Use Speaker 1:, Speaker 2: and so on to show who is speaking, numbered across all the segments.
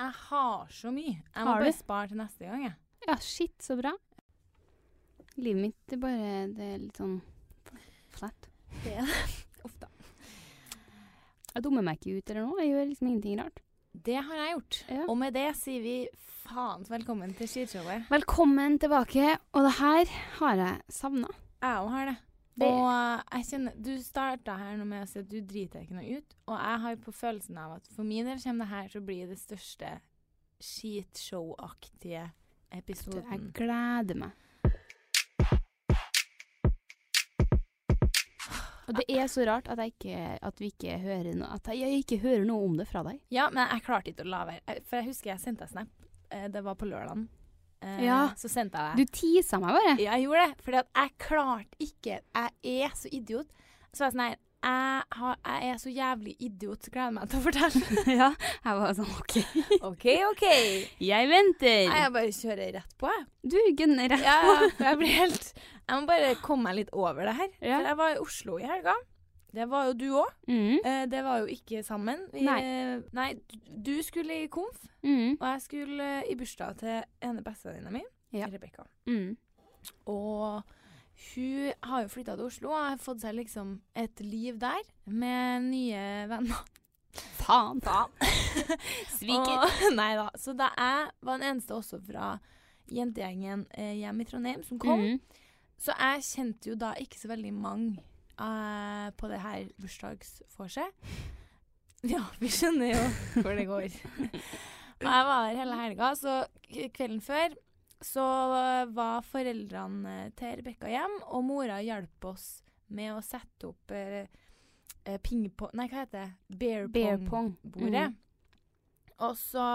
Speaker 1: Jeg har så mye. Jeg må
Speaker 2: Har du?
Speaker 1: bare spare til neste gang, jeg.
Speaker 2: Ja, shit, så bra. Livet mitt er bare Det er litt sånn flat.
Speaker 1: Det er ofte.
Speaker 2: Jeg dummer meg ikke ut eller noe. Jeg gjør liksom ingenting rart.
Speaker 1: Det har jeg gjort.
Speaker 2: Ja.
Speaker 1: Og med det sier vi faens velkommen til skishowet.
Speaker 2: Velkommen tilbake. Og det her har jeg savna.
Speaker 1: Jeg òg har det.
Speaker 2: Det-
Speaker 1: Og eh, jeg kjenner, Du starta her nå med å si at du driter deg ikke noe ut. Og jeg har på følelsen av at for min del kommer det her til å bli det største skitshowaktige
Speaker 2: Jeg
Speaker 1: episoden.
Speaker 2: gleder meg. Og det er så rart at, jeg ikke, at, vi ikke hører noe, at jeg ikke hører noe om det fra deg.
Speaker 1: Ja, men jeg klarte ikke å la være. Jeg- For jeg husker jeg sendte deg snap. Eh, Det var på lørdagen. Eh,
Speaker 2: Ja.
Speaker 1: Så sendte jeg deg.
Speaker 2: Du tisa meg bare.
Speaker 1: Ja, jeg gjorde det. Fordi at jeg klarte ikke Jeg er så idiot. Så var jeg sånn her jeg, har, jeg er så jævlig idiot, så gleder jeg meg til å fortelle.
Speaker 2: Ja, jeg var sånn OK.
Speaker 1: OK, OK.
Speaker 2: Jeg venter.
Speaker 1: Jeg bare kjører rett på, jeg.
Speaker 2: Du gunner rett
Speaker 1: Ja,
Speaker 2: på.
Speaker 1: ja, for jeg blir helt Jeg må bare komme meg litt over det her.
Speaker 2: Ja.
Speaker 1: For jeg var i Oslo i helga. Det var jo du òg.
Speaker 2: Mm,
Speaker 1: Det var jo ikke sammen. Vi,
Speaker 2: Nei.
Speaker 1: eh, nei. Du skulle i konf,
Speaker 2: mm,
Speaker 1: og jeg skulle eh, i bursdag til ene bestevenninna mi,
Speaker 2: Ja.
Speaker 1: Rebekka.
Speaker 2: mm.
Speaker 1: Og hun har jo flytta til Oslo og har fått seg liksom et liv der med nye venner.
Speaker 2: Faen.
Speaker 1: Og, nei da. Så da jeg var den eneste også fra jentegjengen eh, hjemme i Trondheim som kom,
Speaker 2: Mm.
Speaker 1: så jeg kjente jo da ikke så veldig mange eh, på det her bursdagsforset. Ja, vi skjønner jo hvor det går. Og jeg var der hele helga, så k- kvelden før så var foreldrene til Rebekka hjem, og mora hjalp oss med å sette opp eh, eh, pingpong Nei, hva heter det? Bear
Speaker 2: Bear
Speaker 1: pong
Speaker 2: pong.
Speaker 1: bordet.
Speaker 2: Mm.
Speaker 1: Og så,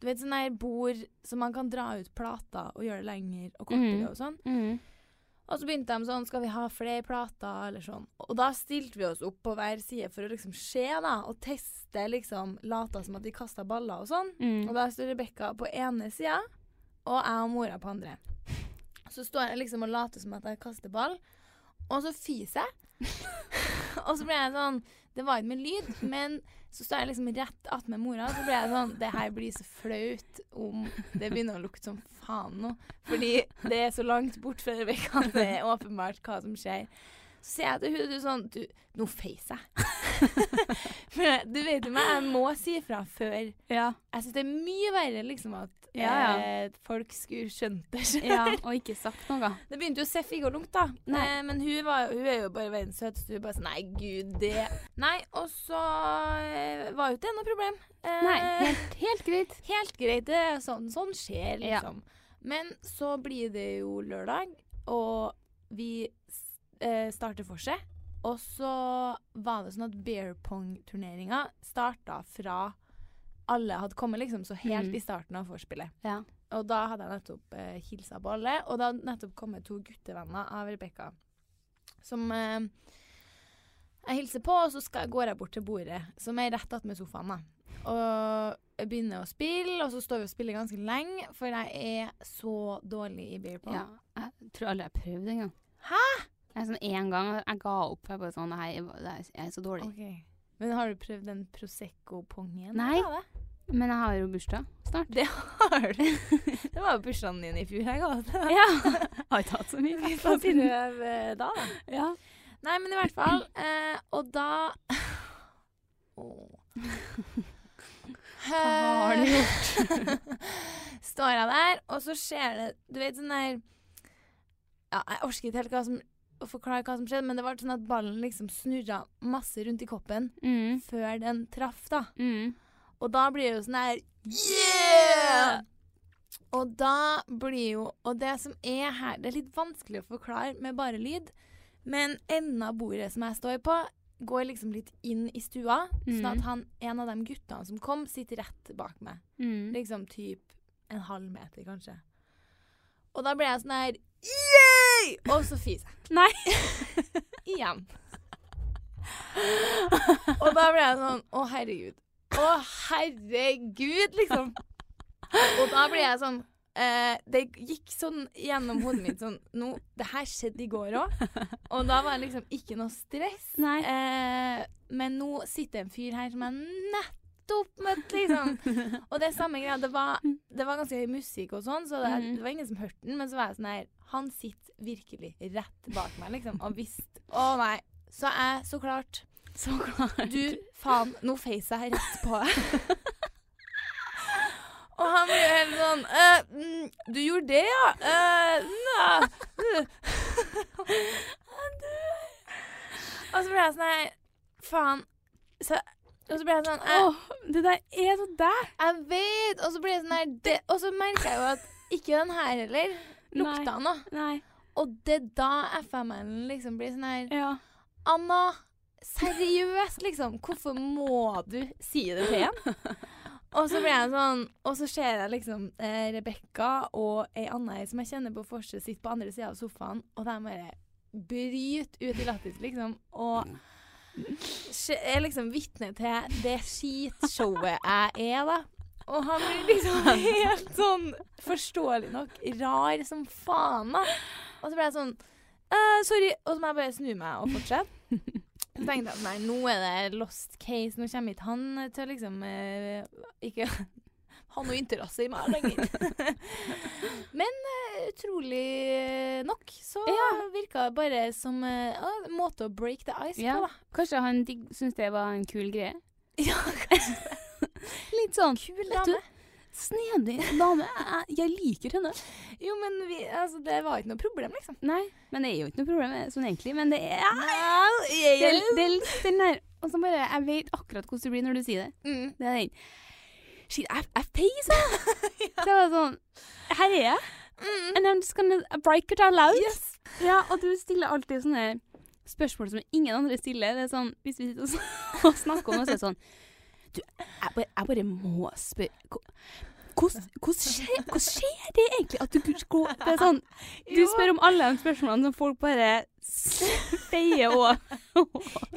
Speaker 1: du vet sånn der bord som man kan dra ut plater og gjøre det lenger og kortere
Speaker 2: Mhm.
Speaker 1: og sånn.
Speaker 2: Mm.
Speaker 1: Og så begynte de sånn, skal vi ha flere plater, eller sånn. Og da stilte vi oss opp på hver side for å liksom se, da, og teste, liksom, lata som at vi kasta baller og sånn.
Speaker 2: Mm.
Speaker 1: Og da står Rebekka på ene sida, og jeg og mora på andre. Så står jeg liksom og later som at jeg kaster ball, og så fiser jeg. og så ble jeg sånn Det var ikke med lyd, men så står jeg liksom rett attmed mora, og så ble jeg sånn Det her blir så flaut om det begynner å lukte som faen nå. Fordi det er så langt bort fra Rebekka, det er åpenbart hva som skjer. Så sier jeg til hun, du sånn Du, nå feiser jeg. For du vet jo meg, jeg må si fra før
Speaker 2: Ja.
Speaker 1: jeg syns det er mye verre liksom at
Speaker 2: Ja,
Speaker 1: Eh, folk skulle skjønt det sjøl.
Speaker 2: ja. Og ikke sagt noe.
Speaker 1: Det begynte jo Seff ikke å lungte, da.
Speaker 2: Nei.
Speaker 1: Eh, men hun, var, hun er jo bare verdens søteste. Hun bare sånn Nei, gud, det Nei, og så eh, var jo ikke det noe problem. Eh,
Speaker 2: Nei, helt, helt greit.
Speaker 1: Helt greit. Det er sånn, sånn skjer,
Speaker 2: Ja.
Speaker 1: liksom. Men så blir det jo lørdag, og vi s- eh, starter forset. Og så var det sånn at bear pong-turneringa starta fra alle hadde kommet, liksom. Så helt
Speaker 2: Mhm.
Speaker 1: i starten av vorspielet.
Speaker 2: Ja.
Speaker 1: Og da hadde jeg nettopp eh, hilsa på alle, og det hadde nettopp kommet to guttevenner av Rebekka. Som eh, Jeg hilser på, og så skal, går jeg bort til bordet, som er rett attmed sofaen. da. Og jeg begynner å spille, og så står vi og spiller ganske lenge, for jeg er så dårlig i beer pong.
Speaker 2: Ja, jeg tror aldri jeg har prøvd engang.
Speaker 1: Hæ?
Speaker 2: Jeg, sånn, en gang jeg ga opp. Jeg bare sånn Nei, jeg var- det er- jeg er så dårlig.
Speaker 1: Ok. Men har du prøvd den Prosecco-pongen?
Speaker 2: Nei.
Speaker 1: Ja, det.
Speaker 2: Men jeg har jo bursdag snart.
Speaker 1: Det har du. Det var jo bursdagen din i fjor. Jeg ga det. til deg.
Speaker 2: Ja. Jeg har ikke hatt så mye
Speaker 1: Få
Speaker 2: bursdag siden.
Speaker 1: prøve da, da.
Speaker 2: Ja.
Speaker 1: Nei, men i hvert fall. Eh, og da Åh.
Speaker 2: Hva har du
Speaker 1: gjort? Står jeg der, og så skjer det Du vet sånn der ja, Jeg orker ikke helt hva som, å forklare hva som skjedde, men det var sånn at ballen liksom snurra masse rundt i koppen
Speaker 2: Mm,
Speaker 1: før den traff, da.
Speaker 2: mm.
Speaker 1: Og da blir det jo sånn her Yeah! Og da blir jo Og det som er her Det er litt vanskelig å forklare med bare lyd, men enden av bordet som jeg står på, går liksom litt inn i stua, sånn
Speaker 2: Mm.
Speaker 1: at han, en av de guttene som kom, sitter rett bak meg.
Speaker 2: Mm.
Speaker 1: Liksom typ en halv meter, kanskje. Og da ble jeg sånn her Yeah! Og så fiser jeg.
Speaker 2: Nei.
Speaker 1: Igjen. Og da ble jeg sånn Å, herregud. Å, herregud, liksom. Og da ble jeg sånn eh, Det gikk sånn gjennom hodet mitt sånn nå, Det her skjedde i går òg. Og da var det liksom ikke noe stress.
Speaker 2: Nei.
Speaker 1: Eh, men nå sitter en fyr her som jeg nettopp møtte, liksom. Og det er samme greia. Det var, det var ganske høy musikk og sånn, så det,
Speaker 2: Mhm.
Speaker 1: det var ingen som hørte den. Men så var jeg sånn her Han sitter virkelig rett bak meg, liksom, og visste Å nei. Så jeg, så klart
Speaker 2: Så klart.
Speaker 1: Du, faen, nå feis jeg rett på deg. Og han blir jo helt sånn «Eh, mm, Du gjorde det, ja? Eh, nei. Jeg dør. Og så ble jeg sånn her Faen. Så, og så ble jeg sånn jeg,
Speaker 2: Åh, det der er så deg!
Speaker 1: jeg vet! Og så ble jeg sånn her det, Og så merka jeg jo at ikke den her heller lukta noe.
Speaker 2: Nei.
Speaker 1: Og det er da FM-en liksom blir sånn her
Speaker 2: Ja.
Speaker 1: Anna, seriøst, liksom. Hvorfor må du si det til en? Og så ble jeg sånn, og så ser jeg liksom eh, Rebekka og ei anna ei som jeg kjenner på Forse, sitter på andre sida av sofaen, og de bare bryter ut i latter, liksom. Og skje- er liksom vitne til det skitshowet jeg er, da. Og han blir liksom helt sånn, forståelig nok, rar som faen, da. Og så ble jeg sånn «Eh, Sorry. Og så må jeg bare snu meg og fortsette. Så tenkte jeg at nei, nå er det lost case. Nå kommer ikke han til å liksom eh, Ikke ha noe interesse i meg lenger. Men eh, utrolig nok så
Speaker 2: Ja.
Speaker 1: virka det bare som eh, ja, en måte å break the ice
Speaker 2: Ja.
Speaker 1: på, da.
Speaker 2: Kanskje han digg- syntes det var en kul greie?
Speaker 1: Ja,
Speaker 2: Litt sånn
Speaker 1: kul
Speaker 2: Vet du-
Speaker 1: dame.
Speaker 2: snedig dame. Jeg, jeg liker henne.
Speaker 1: Jo, men vi, altså, det var ikke noe problem, liksom.
Speaker 2: Nei, men det er jo ikke noe problem med sånn egentlig. Men det er
Speaker 1: Well,
Speaker 2: det, er- det er litt den der Og så bare Jeg vet akkurat hvordan det blir når du sier det.
Speaker 1: Mm.
Speaker 2: Det er den Shit, jeg, jeg feiser! Det var sånn Her er jeg.
Speaker 1: Mm.
Speaker 2: And I'm just gonna break it all out.
Speaker 1: Yes.
Speaker 2: Ja, og du stiller alltid sånne spørsmål som ingen andre stiller. Det er sånn, Hvis vi sitter og s- og snakker om det, så er det sånn Du, jeg bare, jeg bare må spørre Hva- hvordan, hvordan, skjer, hvordan skjer det egentlig at du går Det er sånn Du
Speaker 1: Jo.
Speaker 2: spør om alle de spørsmålene som folk bare s- feier over.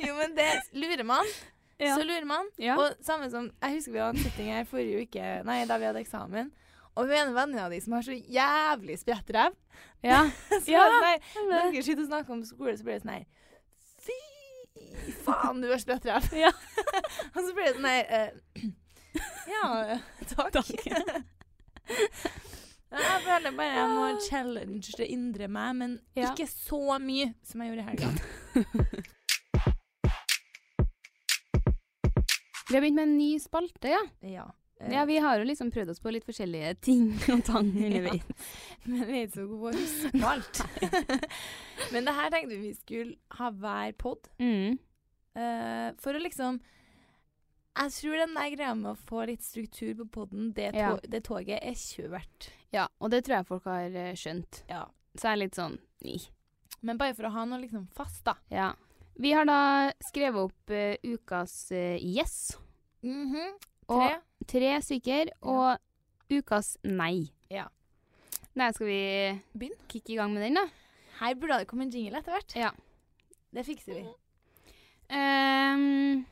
Speaker 1: Jo, men det lurer man.
Speaker 2: Ja.
Speaker 1: Så lurer man.
Speaker 2: Ja.
Speaker 1: Og samme som, Jeg husker vi hadde en sitting her forrige uke, nei, da vi hadde eksamen. Og hun ene venninna di som har så jævlig spredt ræv.
Speaker 2: ja.
Speaker 1: Så var
Speaker 2: Ja,
Speaker 1: det sånn her,
Speaker 2: det.
Speaker 1: Når dere sitter og snakker om skole, så blir det sånn her Fy faen, du har spredt ræv.
Speaker 2: Ja.
Speaker 1: og så blir det sånn her eh, Ja, eh, takk. Ja, Jeg føler bare jeg må challenge det indre meg, men
Speaker 2: Ah. Ja.
Speaker 1: ikke så mye som jeg gjorde i helga.
Speaker 2: Vi har begynt med en ny spalte, ja.
Speaker 1: Ja. eh,
Speaker 2: Ja, Vi har jo liksom prøvd oss på litt forskjellige ting og tang underveis.
Speaker 1: Men vi er ikke så gode på å huske alt. Men det her tenkte vi skulle ha hver pod.
Speaker 2: Mm.
Speaker 1: eh, for å liksom Jeg tror den der greia med å få litt struktur på poden, det, to
Speaker 2: Ja.
Speaker 1: det toget er kjørt.
Speaker 2: Ja, og det tror jeg folk har eh, skjønt.
Speaker 1: Ja.
Speaker 2: Så jeg er litt sånn ni.
Speaker 1: Men bare for å ha noe liksom fast, da.
Speaker 2: Ja. Vi har da skrevet opp eh, ukas eh, yes.
Speaker 1: Mhm.
Speaker 2: Og
Speaker 1: Tre.
Speaker 2: tre stykker. Og ukas nei.
Speaker 1: Ja.
Speaker 2: Nei, skal vi
Speaker 1: Begynn.
Speaker 2: kicke i gang med den, da?
Speaker 1: Her burde det komme en jingle etter hvert.
Speaker 2: Ja.
Speaker 1: Det fikser vi.
Speaker 2: Ehm,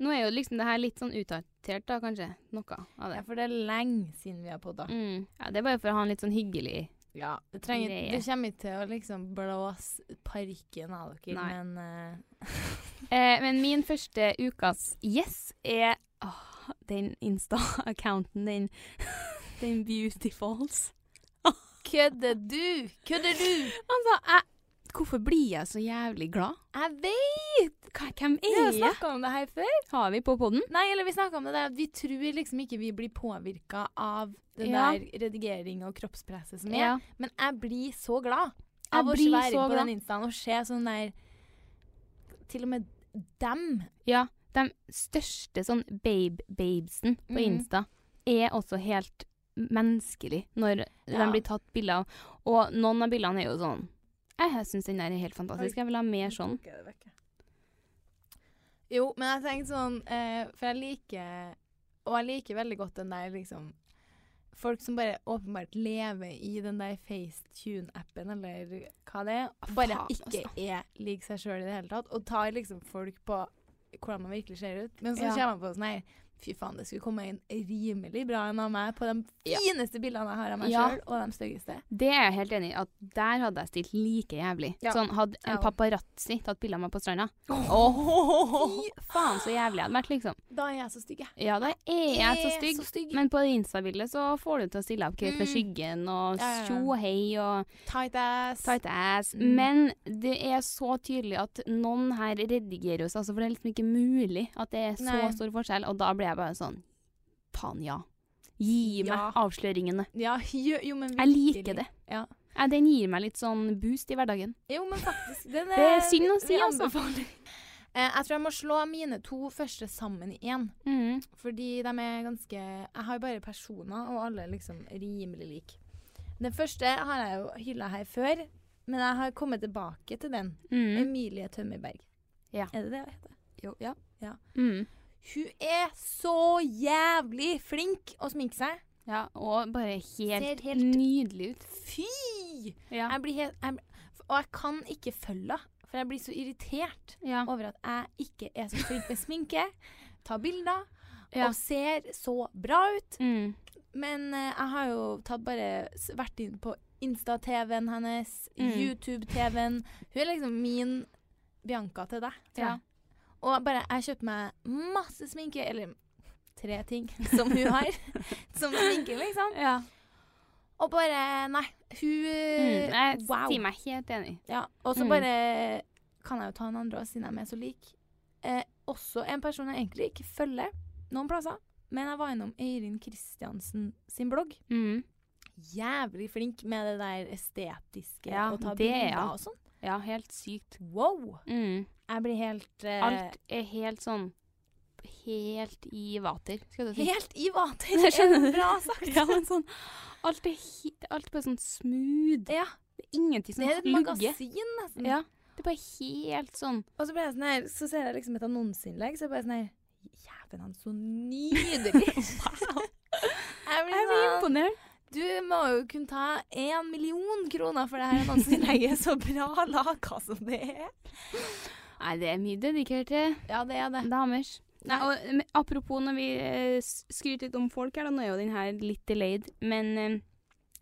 Speaker 2: nå er jo liksom det her litt sånn utdatert, da, kanskje. Noe av
Speaker 1: Ja,
Speaker 2: det.
Speaker 1: for det er lenge siden vi har podda.
Speaker 2: Mm. Ja, det er bare for å ha en litt sånn hyggelig
Speaker 1: Ja, det, trenger,
Speaker 2: Greie.
Speaker 1: det kommer ikke til å liksom blåse parken av dere,
Speaker 2: Nei.
Speaker 1: men eh,
Speaker 2: Eh, men min første ukas yes er åh, den Insta-accounten, den, den Beautifuls.
Speaker 1: Kødder du? Kødder du?
Speaker 2: Altså, jeg, hvorfor blir jeg så jævlig glad?
Speaker 1: Jeg vet!
Speaker 2: Hva- Hvem
Speaker 1: Vi har
Speaker 2: er jeg?
Speaker 1: snakka om det her før.
Speaker 2: Har vi på podden?
Speaker 1: Nei, eller vi snakket om det der at vi tror liksom ikke vi blir påvirka av den
Speaker 2: Ja.
Speaker 1: der redigering og kroppspresset som er.
Speaker 2: Ja.
Speaker 1: Men jeg blir så glad
Speaker 2: Jeg
Speaker 1: av å
Speaker 2: blir
Speaker 1: være
Speaker 2: så
Speaker 1: på
Speaker 2: glad.
Speaker 1: den instaen og se sånn der Til og med dem.
Speaker 2: ja. De største sånn babe-babesen på
Speaker 1: Mhm.
Speaker 2: Insta er også helt menneskelig når de
Speaker 1: Ja.
Speaker 2: blir tatt bilder av. Og noen av bildene er jo sånn Jeg syns den der er helt fantastisk. Jeg vil ha mer sånn.
Speaker 1: Jo, men jeg tenkte sånn eh, For jeg liker Og jeg liker veldig godt den der liksom Folk som bare åpenbart lever i den der FaceTune-appen, eller hva det er.
Speaker 2: Ah,
Speaker 1: Bare
Speaker 2: faen,
Speaker 1: ikke er lik seg sjøl i det hele tatt. Og tar liksom folk på hvordan man virkelig ser ut. Men så
Speaker 2: Ja.
Speaker 1: kommer man på sånn her Fy faen, det skulle komme inn rimelig bra en av meg på de fineste bildene jeg har av meg
Speaker 2: Ja.
Speaker 1: sjøl, og de styggeste.
Speaker 2: Det er jeg helt enig i. At der hadde jeg stilt like jævlig.
Speaker 1: Ja.
Speaker 2: Sånn, Hadde en
Speaker 1: Ja.
Speaker 2: paparazzi tatt bilde av meg på stranda Fy faen, så jævlig jeg hadde vært, liksom.
Speaker 1: Da er jeg så stygg, jeg.
Speaker 2: Ja, da er jeg så stygg.
Speaker 1: så stygg.
Speaker 2: Men på det Insta-bildet så får du til å stille opp greit med
Speaker 1: Mm.
Speaker 2: skyggen og
Speaker 1: Ja, ja, ja.
Speaker 2: tjo og hei og
Speaker 1: Tight ass.
Speaker 2: tight ass.
Speaker 1: Mm.
Speaker 2: Men det er så tydelig at noen her redigerer oss, altså, for det er liksom ikke mulig at det er så
Speaker 1: Nei.
Speaker 2: stor forskjell. Og da blir jeg bare sånn Faen, ja. Gi meg
Speaker 1: Ja.
Speaker 2: avsløringene.
Speaker 1: Ja, jo, jo, men
Speaker 2: Jeg
Speaker 1: virkelig.
Speaker 2: liker det.
Speaker 1: Ja.
Speaker 2: Ja, den gir meg litt sånn boost i hverdagen.
Speaker 1: Jo, men faktisk. Den
Speaker 2: Det er synd å
Speaker 1: vi-
Speaker 2: si,
Speaker 1: vi
Speaker 2: altså.
Speaker 1: anbefaler. Eh, jeg tror jeg må slå mine to første sammen i én.
Speaker 2: Mm.
Speaker 1: Fordi de er ganske Jeg har bare personer, og alle er liksom rimelig like. Den første har jeg jo hylla her før, men jeg har kommet tilbake til den.
Speaker 2: Mm.
Speaker 1: Emilie Tømmerberg.
Speaker 2: Ja.
Speaker 1: Er det det hun heter? Jo, ja.
Speaker 2: Mm.
Speaker 1: Hun er så jævlig flink å sminke seg.
Speaker 2: Ja, og bare helt,
Speaker 1: Ser helt-
Speaker 2: nydelig ut.
Speaker 1: Fy!
Speaker 2: Ja.
Speaker 1: Jeg blir helt jeg, Og jeg kan ikke følge henne, for jeg blir så irritert.
Speaker 2: Ja.
Speaker 1: over at jeg ikke er så flink med sminke, tar bilder
Speaker 2: Ja.
Speaker 1: og ser så bra ut.
Speaker 2: Mm.
Speaker 1: Men eh, jeg har jo tatt bare s- vært inn på Insta-TV-en hennes,
Speaker 2: Mm.
Speaker 1: YouTube-TV-en. Hun er liksom min Bianca til deg. tror
Speaker 2: Ja.
Speaker 1: jeg. Og jeg bare, jeg kjøpte meg masse sminke, eller tre ting som hun har, som sminke, liksom.
Speaker 2: ja.
Speaker 1: Og bare, nei, hun
Speaker 2: Mm. Jeg
Speaker 1: Eh, Wow.
Speaker 2: sier meg helt enig.
Speaker 1: Ja, og så
Speaker 2: Mm.
Speaker 1: bare kan jeg jo ta en andre også, siden de er så like. Eh, også en person jeg egentlig ikke følger noen plasser, men jeg var innom Eirin Kristiansen sin blogg.
Speaker 2: Mm.
Speaker 1: Jævlig flink med det der estetiske
Speaker 2: Ja,
Speaker 1: og ta
Speaker 2: det,
Speaker 1: bilder
Speaker 2: ja.
Speaker 1: og sånn.
Speaker 2: Ja, helt sykt.
Speaker 1: Wow!
Speaker 2: Mm.
Speaker 1: Jeg blir helt eh,
Speaker 2: Alt er helt sånn Helt i vater, skal du si.
Speaker 1: Helt i vater!
Speaker 2: Jeg skjønner
Speaker 1: Det er
Speaker 2: det.
Speaker 1: Bra sagt!
Speaker 2: Ja, men sånn Alt er, hi- alt er bare sånn smooth.
Speaker 1: Ja,
Speaker 2: Det er ingenting som
Speaker 1: det er et
Speaker 2: lugger.
Speaker 1: magasin, nesten.
Speaker 2: Ja. Det er bare helt sånn
Speaker 1: Og så, ble jeg sånn her, så ser jeg liksom et annonseinnlegg, så er jeg bare sånn her Jævlen, han er så nydelig!
Speaker 2: Wow.
Speaker 1: Jeg blir
Speaker 2: Jeg blir
Speaker 1: sånn-
Speaker 2: imponert.
Speaker 1: Du må jo kunne ta én million kroner for det her annonseinnlegget. Så bra laga som det er.
Speaker 2: Nei, det er mye dedikerte
Speaker 1: Ja, det er det.
Speaker 2: damers. Nei, og men Apropos når vi eh, s- skryter litt om folk her, da, nå er jo den her litt delayed, men eh,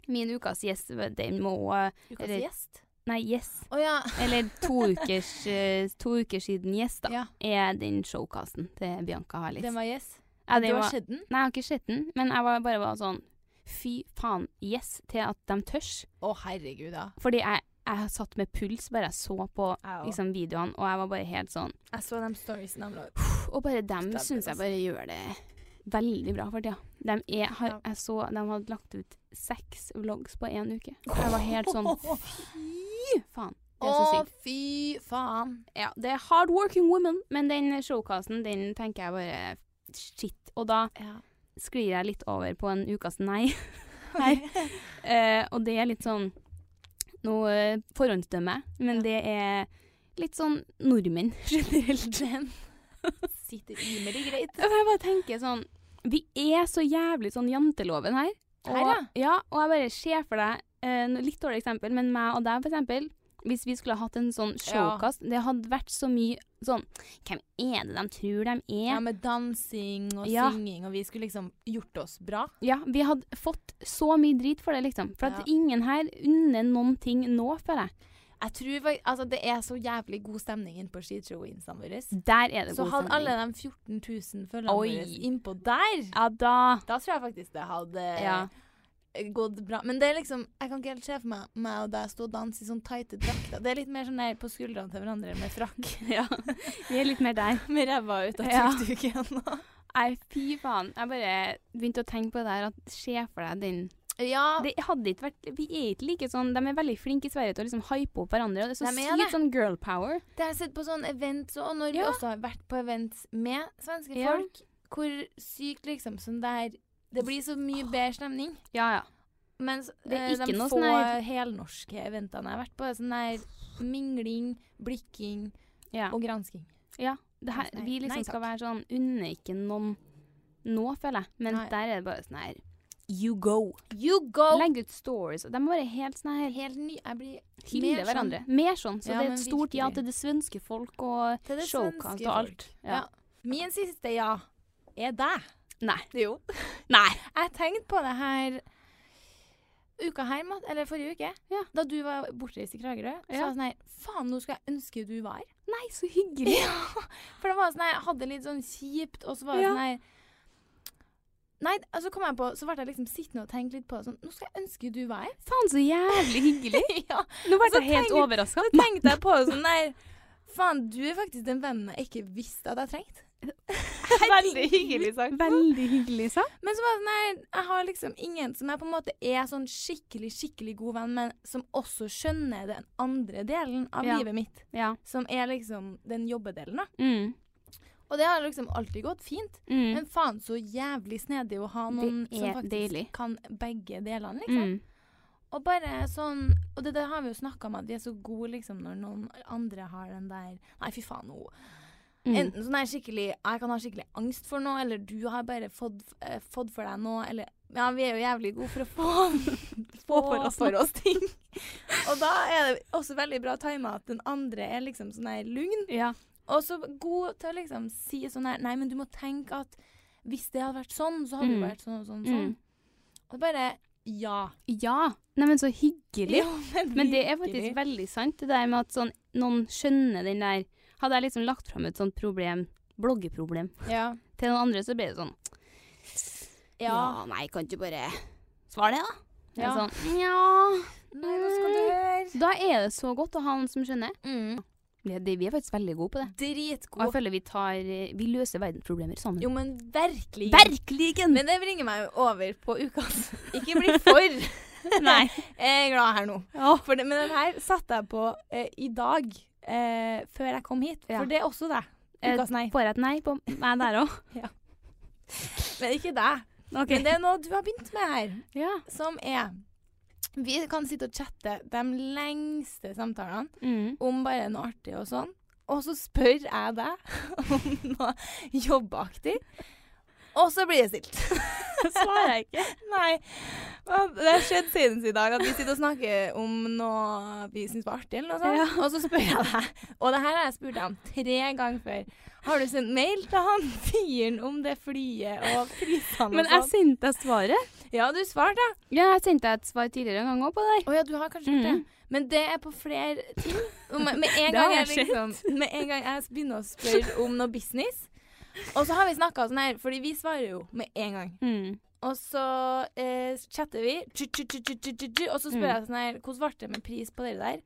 Speaker 2: min ukas gjest, den må eh,
Speaker 1: Ukas
Speaker 2: Eller-
Speaker 1: gjest.
Speaker 2: Nei, yes.
Speaker 1: Å ja.
Speaker 2: Eller to ukers, eh, to uker siden gjest, da.
Speaker 1: ja.
Speaker 2: Er den showcasten til Bianca Harlis.
Speaker 1: Den var yes.
Speaker 2: ja,
Speaker 1: Du
Speaker 2: den
Speaker 1: har
Speaker 2: var,
Speaker 1: sett den?
Speaker 2: nei, jeg har ikke sett den, men jeg var bare var sånn Fy faen, yes til at de tørs.
Speaker 1: Å, herregud, da.
Speaker 2: Fordi jeg, jeg har satt med puls bare jeg så på
Speaker 1: Jeg, også.
Speaker 2: liksom, videoene, og jeg var bare helt sånn
Speaker 1: jeg så de storiesene de la ut.
Speaker 2: Og bare dem
Speaker 1: Stemmer,
Speaker 2: syns jeg
Speaker 1: altså.
Speaker 2: bare gjør det veldig bra for tida. De, er, har,
Speaker 1: Ja.
Speaker 2: jeg så, de hadde lagt ut seks vlogs på én uke. Jeg var helt sånn Fy faen. Det
Speaker 1: Å,
Speaker 2: er så sykt.
Speaker 1: fy faen.
Speaker 2: Ja, det er hard working woman, men den showcasten, den tenker jeg bare shit. Og da sklir jeg litt over på en ukas nei. Nei. Eh, og det er litt sånn Nå eh, forhåndsdømmer jeg, men
Speaker 1: Ja.
Speaker 2: det er litt sånn nordmenn generelt.
Speaker 1: Sitter rimelig greit.
Speaker 2: Og jeg bare tenker sånn Vi er så jævlig sånn janteloven her. Og,
Speaker 1: Her, ja.
Speaker 2: og jeg bare ser for deg eh, no- Litt dårlig eksempel, men meg og deg, for eksempel. hvis vi skulle ha hatt en sånn showkast Det hadde vært så mye sånn Hvem er det de tror de er?
Speaker 1: Ja, med dansing og
Speaker 2: Ja.
Speaker 1: synging, og vi skulle liksom gjort oss bra.
Speaker 2: Ja, vi hadde fått så mye drit for det, liksom. For at
Speaker 1: Ja.
Speaker 2: ingen her unner noen ting nå, føler jeg.
Speaker 1: Jeg tror fak- altså, Det er så jævlig god stemning inne på skishow-instaen vår.
Speaker 2: Der er det
Speaker 1: Så
Speaker 2: god
Speaker 1: hadde alle
Speaker 2: stemning.
Speaker 1: de 14 000 følgerne
Speaker 2: Oi.
Speaker 1: våre innpå der,
Speaker 2: Ja da.
Speaker 1: da tror jeg faktisk det hadde eh,
Speaker 2: Ja.
Speaker 1: gått bra. Men det er liksom Jeg kan ikke helt se for meg meg og deg stå og danse i sånn tighte drakter. Det er litt mer sånn der på skuldrene til hverandre med frakk.
Speaker 2: ja. Vi er litt mer der.
Speaker 1: med ræva ut av
Speaker 2: Ja.
Speaker 1: tuk-tuken.
Speaker 2: Nei, fy faen. Jeg bare begynte å tenke på det der at se for deg den
Speaker 1: ja.
Speaker 2: Det hadde ikke vært Vi er ikke like sånn De er veldig flinke i Sverige til å liksom hype opp hverandre. Og det er så
Speaker 1: De er det.
Speaker 2: sykt sånn girl power.
Speaker 1: Det har jeg sett på sånn event, og når vi
Speaker 2: Ja.
Speaker 1: også har vært på event med svenske
Speaker 2: Ja.
Speaker 1: folk, hvor sykt liksom sånn det er Det blir så mye bedre stemning.
Speaker 2: Ja, ja.
Speaker 1: Mens
Speaker 2: Det er
Speaker 1: eh, de
Speaker 2: ikke noe
Speaker 1: få
Speaker 2: sånn her-
Speaker 1: helnorske eventene jeg har vært på, er sånn der mingling, blikking
Speaker 2: ja.
Speaker 1: og gransking.
Speaker 2: ja. Det her,
Speaker 1: Nei,
Speaker 2: vi liksom
Speaker 1: nei,
Speaker 2: skal
Speaker 1: takk.
Speaker 2: være sånn Unner ikke noen nå, føler jeg. Men
Speaker 1: Nei.
Speaker 2: der er det bare sånn her You go.
Speaker 1: You go!
Speaker 2: Legg ut stories. Og de må være helt sånn her
Speaker 1: Helt ny Jeg blir
Speaker 2: Hylle
Speaker 1: mer
Speaker 2: hverandre.
Speaker 1: sånn
Speaker 2: Mer sånn. Så
Speaker 1: Ja,
Speaker 2: det er
Speaker 1: men
Speaker 2: et stort ja
Speaker 1: virkelig.
Speaker 2: til det svenske folk og
Speaker 1: til det
Speaker 2: showcast
Speaker 1: svenske
Speaker 2: og
Speaker 1: folk.
Speaker 2: alt. Ja.
Speaker 1: Ja. Min siste ja er deg.
Speaker 2: Nei.
Speaker 1: Jo.
Speaker 2: Nei.
Speaker 1: Jeg tenkte på det her uka her, Matt, eller forrige uke,
Speaker 2: Ja.
Speaker 1: da du var bortreist i Kragerø. Så
Speaker 2: Ja.
Speaker 1: var jeg sånn her Faen, nå skulle jeg ønske du var her.
Speaker 2: Nei, så hyggelig.
Speaker 1: For det var sånn her, jeg hadde litt sånn kjipt, og så var det
Speaker 2: Ja.
Speaker 1: sånn her Nei, og så kom jeg på, så ble jeg liksom sittende og tenke litt på det, sånn Nå skal jeg ønske du var her.
Speaker 2: Faen, så jævlig hyggelig.
Speaker 1: ja.
Speaker 2: Nå ble
Speaker 1: Så
Speaker 2: jeg helt
Speaker 1: tenk-
Speaker 2: overraska.
Speaker 1: Så tenkte jeg på det sånn her Faen, du er faktisk den vennen jeg ikke visste at jeg trengte. Veldig hyggelig sagt.
Speaker 2: Veldig hyggelig sagt.
Speaker 1: Men så var det sånn her, jeg har liksom ingen som jeg på en måte er sånn skikkelig, skikkelig god venn, men som også skjønner den andre delen av
Speaker 2: Ja.
Speaker 1: livet mitt.
Speaker 2: Ja.
Speaker 1: Som er liksom den jobbedelen, da.
Speaker 2: Mm.
Speaker 1: Og det har liksom alltid gått fint.
Speaker 2: Mm.
Speaker 1: Men faen så jævlig snedig å ha
Speaker 2: Det
Speaker 1: noen som
Speaker 2: er
Speaker 1: faktisk
Speaker 2: deilig.
Speaker 1: kan begge delene, liksom.
Speaker 2: Mm.
Speaker 1: Og bare sånn Og det, det har vi jo snakka om, at vi er så gode liksom når noen andre har den der Nei, fy faen, nå
Speaker 2: Mm.
Speaker 1: Enten sånn her skikkelig Jeg kan ha skikkelig angst for noe, eller du har bare fått, eh, fått for deg noe, eller Ja, vi er jo jævlig gode for å få, få for, oss, for oss ting. Og da er det også veldig bra tima at den andre er liksom sånn her lugn,
Speaker 2: Ja.
Speaker 1: og så god til å liksom si sånn her Nei, men du må tenke at hvis det hadde vært sånn, så hadde det
Speaker 2: Mm.
Speaker 1: vært sånn og sånn og sånn.
Speaker 2: Mm.
Speaker 1: Og bare Ja.
Speaker 2: ja. Neimen, så hyggelig. Men det er faktisk
Speaker 1: virkelig.
Speaker 2: veldig sant, det der med at sånn, noen skjønner den der Hadde jeg liksom lagt fram et sånt problem, bloggeproblem,
Speaker 1: Ja.
Speaker 2: til noen andre, så ble det sånn Ja,
Speaker 1: ja.
Speaker 2: nei, kan du bare svare det, da? Ja.
Speaker 1: Ja.
Speaker 2: Sånn, ja.
Speaker 1: Nei, nå skal du høre.
Speaker 2: Da er det så godt å ha noen som skjønner.
Speaker 1: Mm.
Speaker 2: Ja, det, vi er faktisk veldig gode på det. Og jeg
Speaker 1: Dritgod.
Speaker 2: føler vi tar eh, Vi løser verdensproblemer sammen.
Speaker 1: Jo, men virkelig.
Speaker 2: Verkligen!
Speaker 1: Men det bringer meg jo over på ukas Ikke bli for
Speaker 2: Nei.
Speaker 1: Jeg er glad her nå. For det, men den her satte jeg på eh, i dag, eh, før jeg kom hit.
Speaker 2: Ja.
Speaker 1: For det er også deg.
Speaker 2: Eh,
Speaker 1: Ukas nei.
Speaker 2: Får jeg et nei på meg der òg?
Speaker 1: Men ikke deg. Men det er noe du har begynt med her,
Speaker 2: Ja.
Speaker 1: som er Vi kan sitte og chatte de lengste samtalene
Speaker 2: Mm.
Speaker 1: om bare noe artig og sånn. Og så spør jeg deg om noe jobbaktig, og så blir det stilt.
Speaker 2: Svarer jeg ikke.
Speaker 1: Nei. Og Det har skjedd siden i dag at vi sitter og snakker om noe vi syns var artig, eller noe sånt. Og så spør jeg deg, og det her har jeg spurt deg om tre ganger før. Har du sendt mail til han fyren om det flyet og prisene
Speaker 2: Men
Speaker 1: og
Speaker 2: jeg
Speaker 1: sånn?
Speaker 2: sendte deg svaret.
Speaker 1: Ja, du svarte, ja.
Speaker 2: Ja, jeg sendte deg et svar tidligere en gang òg på det.
Speaker 1: Å ja, du har kanskje gjort
Speaker 2: Mm.
Speaker 1: det. Men det er på flere ting. Og Med, med, en
Speaker 2: Det har
Speaker 1: gang jeg
Speaker 2: jeg
Speaker 1: liksom, med en gang jeg begynner å spørre om noe business, og så har vi snakka sånn her, fordi vi svarer jo med en gang.
Speaker 2: Mm.
Speaker 1: Og så eh, chatter vi, tju, tju, tju, tju, tju, tju, tju, og så spør
Speaker 2: Mm.
Speaker 1: jeg sånn her Hvordan ble det med pris på dere der?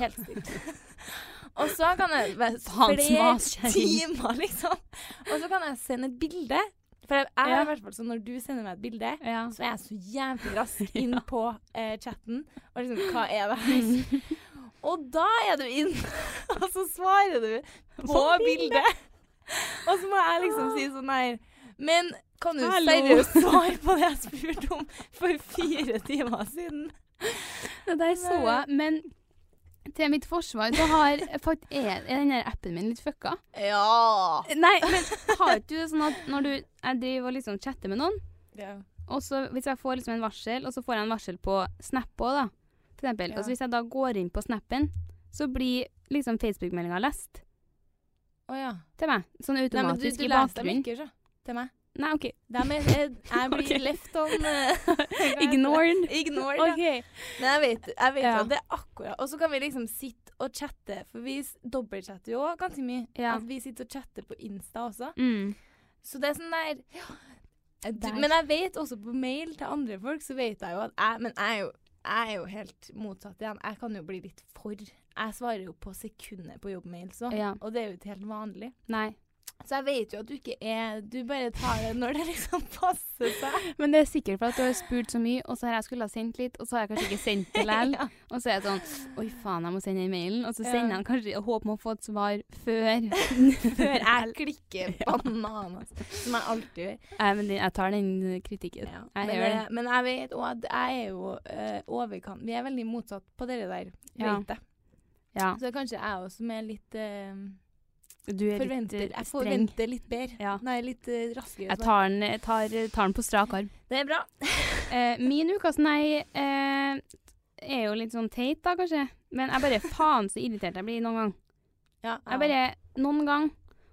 Speaker 1: Helt stilt. og så kan jeg være
Speaker 2: Faen,
Speaker 1: flere
Speaker 2: smaskjæring.
Speaker 1: timer, liksom. Og så kan jeg sende et bilde. For jeg, jeg
Speaker 2: Ja.
Speaker 1: er i hvert fall sånn når du sender meg et bilde,
Speaker 2: Ja.
Speaker 1: så er jeg så jævlig rask inn på eh, chatten. Og liksom Hva er det her? Og da er du inn, og så svarer du på
Speaker 2: På bildet.
Speaker 1: bildet. Og så må jeg liksom si sånn her Men kan du
Speaker 2: Ah. Hallo.
Speaker 1: seriøst svare på det jeg spurte om for fire timer siden?
Speaker 2: Det der så jeg. Men til mitt forsvar så har fakt, er, er den der appen min litt fucka.
Speaker 1: Ja.
Speaker 2: Nei, men har ikke du det sånn at når du jeg driver og liksom chatter med noen, og så hvis jeg får liksom en varsel, og så får jeg en varsel på Snap òg, da For eksempel.
Speaker 1: Ja.
Speaker 2: Og så hvis jeg da går inn på snappen, så blir liksom Facebook-meldinga lest
Speaker 1: Å ja.
Speaker 2: til meg. Sånn
Speaker 1: Nei, men du,
Speaker 2: automatisk
Speaker 1: du
Speaker 2: i
Speaker 1: leste dem
Speaker 2: bakgrunnen.
Speaker 1: ikke, så. Til meg.
Speaker 2: Nei, OK.
Speaker 1: Dem er, jeg, jeg blir
Speaker 2: Ok.
Speaker 1: left on eh, hva heter det?
Speaker 2: Ignored.
Speaker 1: Ignored, ja.
Speaker 2: OK.
Speaker 1: Men jeg vet, jeg vet
Speaker 2: Ja.
Speaker 1: jo at det er akkurat. Og så kan vi liksom sitte og chatte, for vi s- dobbeltchatter jo også ganske mye.
Speaker 2: Ja.
Speaker 1: At vi sitter og chatter på Insta også.
Speaker 2: Mm.
Speaker 1: Så det er sånn der ja, du,
Speaker 2: Der.
Speaker 1: Men jeg vet også på mail til andre folk, så vet jeg jo at jeg Men jeg er jo, jeg er jo helt motsatt igjen. Jeg kan jo bli litt for. Jeg svarer jo på sekundet på jobbmails òg.
Speaker 2: Ja.
Speaker 1: Og det er jo ikke helt vanlig.
Speaker 2: Nei.
Speaker 1: Så jeg vet jo at du ikke er Du bare tar det når det liksom passer seg.
Speaker 2: Men det er sikkert for at du har spurt så mye, og så har jeg skulle ha sendt litt, og så har jeg kanskje ikke sendt det likevel.
Speaker 1: Ja.
Speaker 2: Og så er jeg sånn Oi, faen, jeg må sende den mailen. Og så
Speaker 1: Ja.
Speaker 2: sender jeg den kanskje og håper om å få et svar før.
Speaker 1: Før jeg klikker banan, altså. Som jeg alltid gjør.
Speaker 2: Nei, men jeg tar den kritikken.
Speaker 1: Ja.
Speaker 2: Jeg
Speaker 1: men,
Speaker 2: gjør det.
Speaker 1: eh, men jeg vet òg at jeg er jo eh, overkant Vi er veldig motsatt på det der,
Speaker 2: Ja.
Speaker 1: vet jeg.
Speaker 2: Ja.
Speaker 1: Så det er kanskje jeg òg som er litt eh,
Speaker 2: Du er litt
Speaker 1: Forventer Jeg
Speaker 2: eh, streng.
Speaker 1: forventer litt bedre.
Speaker 2: Ja.
Speaker 1: Nei, litt eh, raskere.
Speaker 2: Jeg tar den, jeg tar, eh, tar den på strak arm.
Speaker 1: svar. Det er bra.
Speaker 2: Eh, min ukas nei eh, er jo litt sånn teit, da, kanskje. Men jeg bare faen så irritert jeg blir noen gang.
Speaker 1: Ja,
Speaker 2: Jeg bare Noen gang.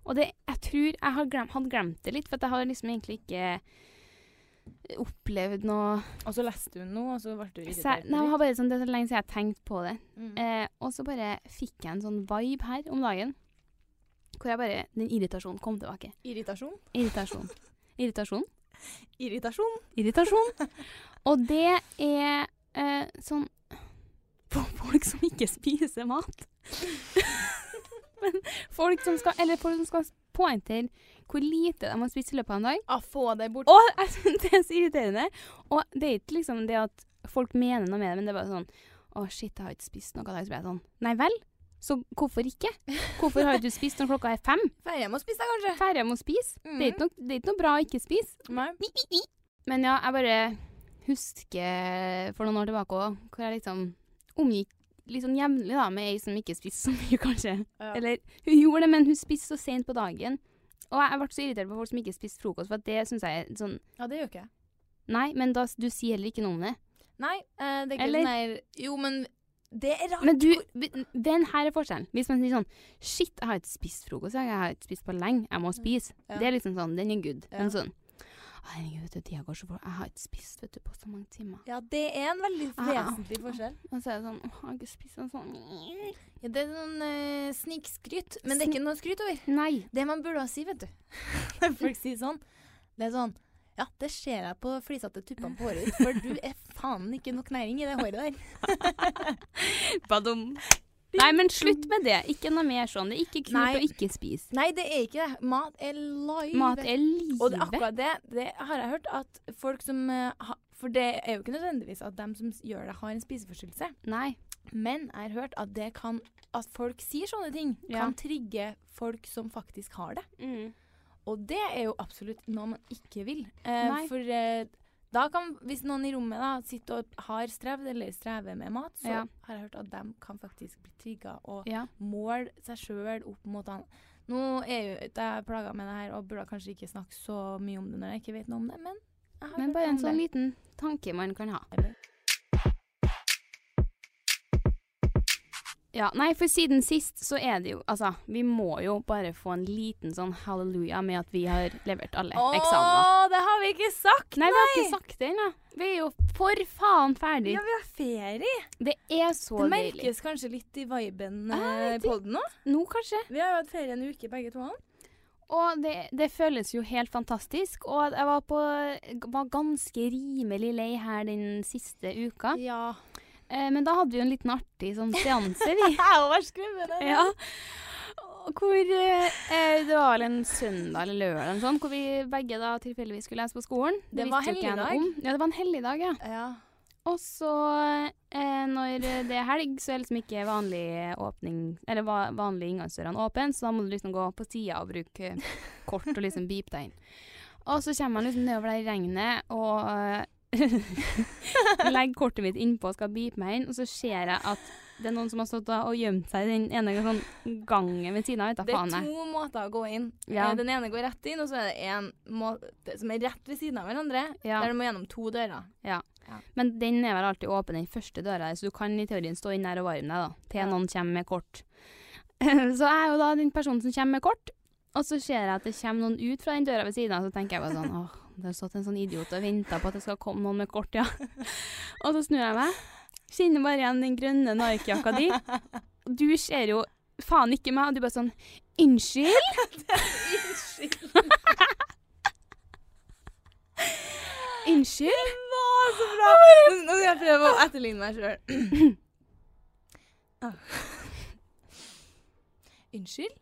Speaker 2: Og det, jeg tror jeg har glem, hadde glemt det litt, for at jeg har liksom egentlig ikke eh, opplevd noe
Speaker 1: Og så leste hun noe, og så ble du
Speaker 2: Jeg
Speaker 1: irritert.
Speaker 2: sa- Nei, jeg har bare sånn, Det er så lenge siden jeg har tenkt på det.
Speaker 1: Mm.
Speaker 2: Eh, og så bare fikk jeg en sånn vibe her om dagen. Hvor jeg bare Den irritasjonen kom tilbake.
Speaker 1: Irritasjon.
Speaker 2: Irritasjon. Irritasjon.
Speaker 1: Irritasjon.
Speaker 2: Irritasjon. Og det er eh, sånn For folk som ikke spiser mat. Men folk som skal Eller folk som skal poengtere hvor lite de har spist i løpet av en dag.
Speaker 1: Ah, få deg bort.
Speaker 2: Og jeg synes det er så irriterende. Og det er ikke liksom det at folk mener noe med det, men det er bare sånn Å, shit, jeg har ikke spist noe i dag. Så blir jeg sånn Nei vel? Så hvorfor ikke? Hvorfor har ikke du spist når klokka er fem?
Speaker 1: Drar hjem og spis deg, kanskje.
Speaker 2: Ferdig med å spise. Det er ikke noe, det er ikke noe bra å ikke spise.
Speaker 1: Nei.
Speaker 2: Men ja, jeg bare husker for noen år tilbake òg, hvor jeg liksom omgikk litt sånn jevnlig da, med ei som ikke spiste så mye, kanskje.
Speaker 1: Ja.
Speaker 2: Eller hun gjorde det, men hun spiste så seint på dagen. Og jeg ble så irritert på folk som ikke spiste frokost, for at det syns jeg er sånn
Speaker 1: Ja, det gjør ikke jeg.
Speaker 2: Nei, men da, du sier heller ikke noe om det.
Speaker 1: Nei, eh, det er ikke
Speaker 2: Eller-
Speaker 1: sånn der Jo, men det er rart.
Speaker 2: Men du, den her er forskjellen. Hvis man sier sånn Shit, jeg har ikke spist frokost, jeg Jeg har ikke spist på lenge, jeg må spise.
Speaker 1: Ja.
Speaker 2: Det er liksom sånn, den er good.
Speaker 1: Ja.
Speaker 2: Men sånn Herregud, vet du, tida går så fort. Jeg har ikke spist vet du, på så mange timer.
Speaker 1: Ja, det er en veldig
Speaker 2: Ah, ah.
Speaker 1: vesentlig forskjell.
Speaker 2: Og så er det sånn Åh, jeg har ikke spist en sånn
Speaker 1: Ja, det er sånn eh, snikskryt, men det er ikke noe skryt over.
Speaker 2: Nei.
Speaker 1: Det man burde si, vet du Når folk sier sånn Det er sånn Ja, det ser jeg på flisete tuppene på håret ditt, for du er faen ikke nok næring i det håret der.
Speaker 2: Badum. Nei, men slutt med det. Ikke noe mer sånn. Det er ikke kult
Speaker 1: Nei.
Speaker 2: å ikke spise.
Speaker 1: Nei, det er ikke det. Mat er live.
Speaker 2: Mat er livet.
Speaker 1: Og det, akkurat det, det har jeg hørt at folk som eh, ha, For det er jo ikke nødvendigvis at dem som s- gjør det, har en spiseforstyrrelse.
Speaker 2: Nei.
Speaker 1: Men jeg har hørt at det kan At folk sier sånne ting,
Speaker 2: Ja.
Speaker 1: kan trigge folk som faktisk har det. Og det er jo absolutt noe man ikke vil. Eh,
Speaker 2: Nei.
Speaker 1: for eh, da kan, hvis noen i rommet da sitter og har strevd eller strever med mat, så
Speaker 2: Ja.
Speaker 1: har jeg hørt at de kan faktisk bli trigga og
Speaker 2: Ja.
Speaker 1: måle seg sjøl opp mot han. Nå er jo ikke jeg plaga med det her og burde kanskje ikke snakke så mye om det når jeg ikke vet noe om det, men jeg har
Speaker 2: Men
Speaker 1: hørt
Speaker 2: bare en
Speaker 1: om
Speaker 2: sånn
Speaker 1: det.
Speaker 2: liten tanke man kan ha.
Speaker 1: Eller-
Speaker 2: Ja, nei, for siden sist så er det jo Altså, vi må jo bare få en liten sånn halleluja med at vi har levert alle eksamener.
Speaker 1: Å, det har vi ikke sagt,
Speaker 2: Nei, vi har ikke sagt det ennå. Vi er jo for faen ferdig.
Speaker 1: Ja, vi har ferie.
Speaker 2: Det er så
Speaker 1: det
Speaker 2: deilig.
Speaker 1: merkes kanskje litt i viben
Speaker 2: Jeg
Speaker 1: eh,
Speaker 2: vet
Speaker 1: på den nå.
Speaker 2: Nå, kanskje.
Speaker 1: Vi har jo hatt ferie en uke, begge to.
Speaker 2: Og det, det føles jo helt fantastisk. Og jeg var, på, var ganske rimelig lei her den siste uka.
Speaker 1: Ja.
Speaker 2: Eh, men da hadde vi jo en liten artig sånn seanse, vi.
Speaker 1: Jeg har vært skrevet det.
Speaker 2: Ja. Og Hvor eh, eh, Det var vel en søndag eller lørdag eller noe sånt, hvor vi begge da tilfeldigvis skulle lese på skolen.
Speaker 1: Det
Speaker 2: visste
Speaker 1: var
Speaker 2: jo ikke jeg noe
Speaker 1: helligdag.
Speaker 2: om. Ja, det var en helligdag, ja.
Speaker 1: Ja.
Speaker 2: Og så, eh, når det er helg, så er liksom ikke vanlig åpning Eller va- vanlig inngangsdørene åpne, så da må du liksom gå på sida og bruke kort og liksom beepe deg inn. Og så kommer han liksom nedover der i regnet og eh, legger kortet mitt innpå og skal beepe meg inn, og så ser jeg at det er noen som har stått da og gjemt seg i den ene sånn gangen ved siden av. Vet da
Speaker 1: Det er
Speaker 2: faen jeg.
Speaker 1: to måter å gå inn.
Speaker 2: Ja.
Speaker 1: Eh, Den ene går rett inn, og så er det en måte som er rett ved siden av hverandre.
Speaker 2: Ja.
Speaker 1: Der du må gjennom to dører.
Speaker 2: Ja.
Speaker 1: Ja.
Speaker 2: Men den er vel alltid åpen, den første døra der, så du kan i teorien stå inn der og varme deg, da. Til
Speaker 1: Ja.
Speaker 2: noen kommer med kort. så jeg er jo da den personen som kommer med kort, og så ser jeg at det kommer noen ut fra den døra ved siden av, så tenker jeg bare sånn åh, det har stått en sånn idiot og venta på at det skal komme noen med kort, ja. og så snur jeg meg, kjenner bare igjen den grønne Nike-jakka di. Og Du ser jo faen ikke meg, og du bare sånn Unnskyld? Unnskyld?
Speaker 1: Det var så bra! Nå skal jeg prøve å etterligne meg sjøl. Unnskyld?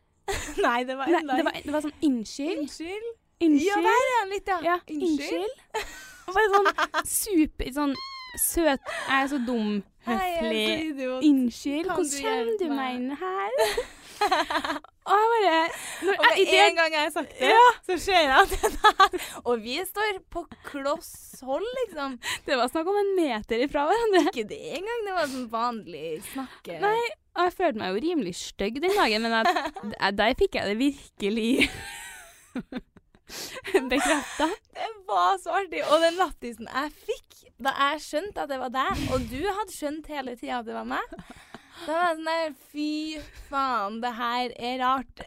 Speaker 1: Nei, det var
Speaker 2: Ah. Nei,
Speaker 1: enda
Speaker 2: det var, det var sånn Unnskyld?
Speaker 1: Unnskyld? Ja,
Speaker 2: Unnskyld?
Speaker 1: der er han litt, ja.
Speaker 2: Ja, unnskyld. Og Bare sånn super sånn søt Jeg er så dum.
Speaker 1: Hei, jeg er
Speaker 2: Høflig.
Speaker 1: så idiot.
Speaker 2: Unnskyld,
Speaker 1: Kan
Speaker 2: hvordan
Speaker 1: du
Speaker 2: kommer
Speaker 1: hjelpe
Speaker 2: du meg
Speaker 1: meg?
Speaker 2: inn her? Og jeg bare når,
Speaker 1: Og med
Speaker 2: i det-
Speaker 1: en gang jeg har sagt det, så ser jeg at det der Og vi står på kloss hold, liksom.
Speaker 2: Det var snakk om en meter ifra hverandre.
Speaker 1: Ikke det engang. Det var sånn vanlig snakke.
Speaker 2: Nei, og jeg følte meg jo rimelig stygg den dagen, men jeg, jeg- der fikk jeg det virkelig bekrefta.
Speaker 1: Det var så artig. Og den lattisen jeg fikk da jeg skjønte at det var deg, og du hadde skjønt hele tida at det var meg, da var jeg sånn der Fy faen, det her er rart.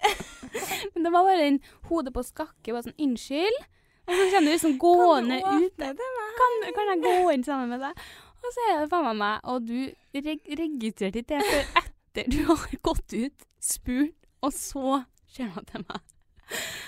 Speaker 2: Men det var bare den hodet på skakke, bare sånn unnskyld. Og så kommer du liksom gående
Speaker 1: Kan du
Speaker 2: ut.
Speaker 1: åpne det meg?
Speaker 2: kan, kan jeg gå inn sammen med deg? Og så er det faen meg meg, og du reg registrerte ikke det før etter du har gått ut, spurt, og så ser man til meg.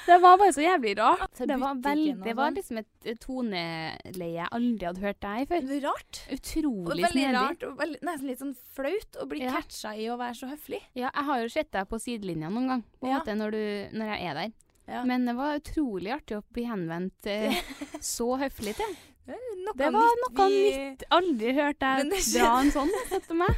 Speaker 2: Det var bare så jævlig rart.
Speaker 1: Til
Speaker 2: Det var,
Speaker 1: butikken
Speaker 2: vel,
Speaker 1: og
Speaker 2: det var
Speaker 1: sånn.
Speaker 2: liksom et et toneleie jeg aldri hadde hørt deg før.
Speaker 1: Det er Rart. Og
Speaker 2: Utrolig
Speaker 1: sånn. veldig
Speaker 2: snedig.
Speaker 1: rart, og veldig, nesten litt sånn flaut å bli
Speaker 2: Ja.
Speaker 1: catcha i å være så høflig.
Speaker 2: Ja, jeg har jo sett deg på sidelinja noen gang, på en
Speaker 1: Ja.
Speaker 2: måte, når, du, når jeg er der.
Speaker 1: Ja.
Speaker 2: Men det var utrolig artig å bli henvendt eh, så høflig til.
Speaker 1: Det, er noe
Speaker 2: Det var noe
Speaker 1: vi-
Speaker 2: nytt. Aldri hørt
Speaker 1: Men
Speaker 2: deg
Speaker 1: det skjedde.
Speaker 2: dra en sånn etter meg.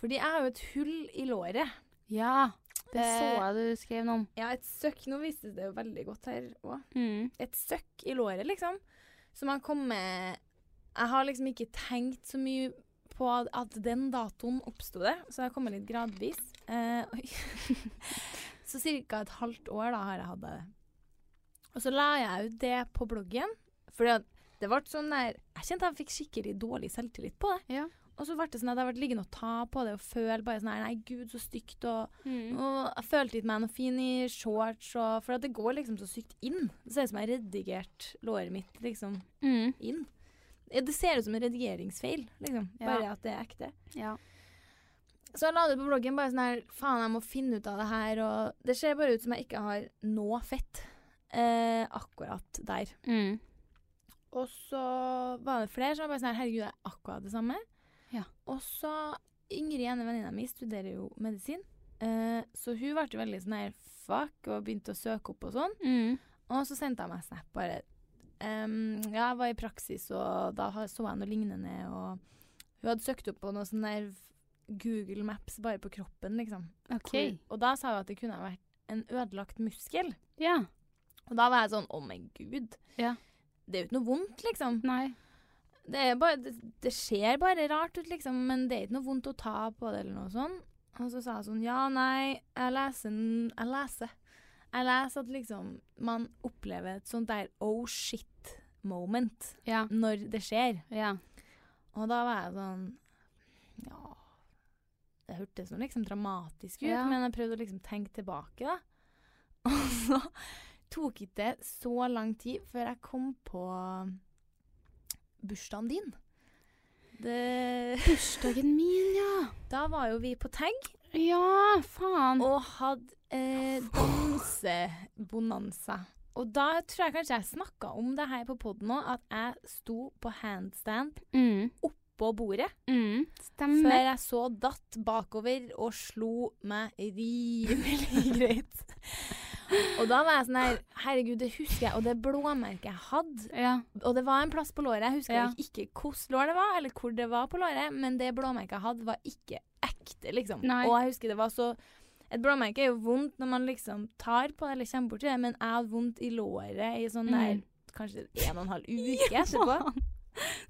Speaker 1: Fordi jeg har jo et hull i låret.
Speaker 2: Ja, det
Speaker 1: Eh,
Speaker 2: så jeg du skrev noe om.
Speaker 1: Ja, et søkk. Nå vistes det jo veldig godt her òg.
Speaker 2: Mm.
Speaker 1: et søkk i låret, liksom. Som har kommet Jeg har liksom ikke tenkt så mye på at- at den datoen oppsto det, så det har kommet litt gradvis. Eh, oi. så ca. et halvt år da har jeg hatt det. Og så la jeg ut det på bloggen, fordi at det ble sånn der Jeg kjente jeg fikk skikkelig dårlig selvtillit på det.
Speaker 2: Ja.
Speaker 1: Og så ble det sånn at jeg ble liggende og ta på det og føle bare sånn her Nei, gud, så stygt og
Speaker 2: Mm.
Speaker 1: og jeg følte ikke meg noe fin i shorts, og, for at det går liksom så sykt inn. Det ser ut som jeg har redigert låret mitt liksom
Speaker 2: Mm.
Speaker 1: inn. Ja, Det ser ut som en redigeringsfeil, liksom.
Speaker 2: Ja.
Speaker 1: Bare at det er ekte.
Speaker 2: Ja.
Speaker 1: Så jeg la det ut på bloggen bare sånn her Faen, jeg må finne ut av det her, og Det ser bare ut som jeg ikke har noe fett eh, akkurat der.
Speaker 2: Mm.
Speaker 1: Og så var det flere som var bare sånn her Herregud, det er akkurat det samme.
Speaker 2: Ja.
Speaker 1: Og så Ingrid, ene venninna mi, studerer jo medisin. Eh, så hun ble jo veldig sånn her fuck og begynte å søke opp og sånn.
Speaker 2: Mm.
Speaker 1: Og så sendte jeg meg en snap bare ehm, Ja, jeg var i praksis, og da har- så jeg noe lignende, og hun hadde søkt opp på noe sånn der Google Maps bare på kroppen, liksom.
Speaker 2: OK.
Speaker 1: Hvor- Og da sa hun at det kunne ha vært en ødelagt muskel.
Speaker 2: Ja.
Speaker 1: Og da var jeg sånn Å, men gud.
Speaker 2: Ja.
Speaker 1: Det er jo ikke noe vondt, liksom.
Speaker 2: Nei.
Speaker 1: Det, er bare, det, det ser bare rart ut, liksom, men det er ikke noe vondt å ta på det eller noe sånt. Og så sa jeg sånn Ja, nei, jeg leser n- Jeg leser. Jeg leser at liksom man opplever et sånt der oh shit-moment
Speaker 2: Ja.
Speaker 1: når det skjer.
Speaker 2: Ja.
Speaker 1: Og da var jeg sånn Ja Det hørtes noe liksom dramatisk ut,
Speaker 2: Ja.
Speaker 1: men jeg prøvde å liksom tenke tilbake, da. Og så tok ikke det så lang tid før jeg kom på bursdagen din. Det
Speaker 2: Bursdagen min, ja.
Speaker 1: Da var jo vi på tag
Speaker 2: Ja, faen.
Speaker 1: og hadde eh, dansebonanza. Og da tror jeg kanskje jeg snakka om det her på poden òg, at jeg sto på handstand
Speaker 2: Mm.
Speaker 1: på bordet.
Speaker 2: Mm.
Speaker 1: Før
Speaker 2: Stemmer.
Speaker 1: jeg så datt bakover og slo meg rimelig greit. Og da var jeg sånn her Herregud, det husker jeg. Og det blåmerket jeg hadde
Speaker 2: Ja.
Speaker 1: Og det var en plass på låret. Jeg husker
Speaker 2: Ja.
Speaker 1: ikke hvordan lår det var, eller hvor det var på låret, men det blåmerket jeg hadde, var ikke ekte, liksom.
Speaker 2: Nei.
Speaker 1: Og jeg husker det var så Et blåmerke er jo vondt når man liksom tar på det eller kommer borti det, men jeg hadde vondt i låret i sånn der
Speaker 2: Mm.
Speaker 1: kanskje en og en halv uke etterpå.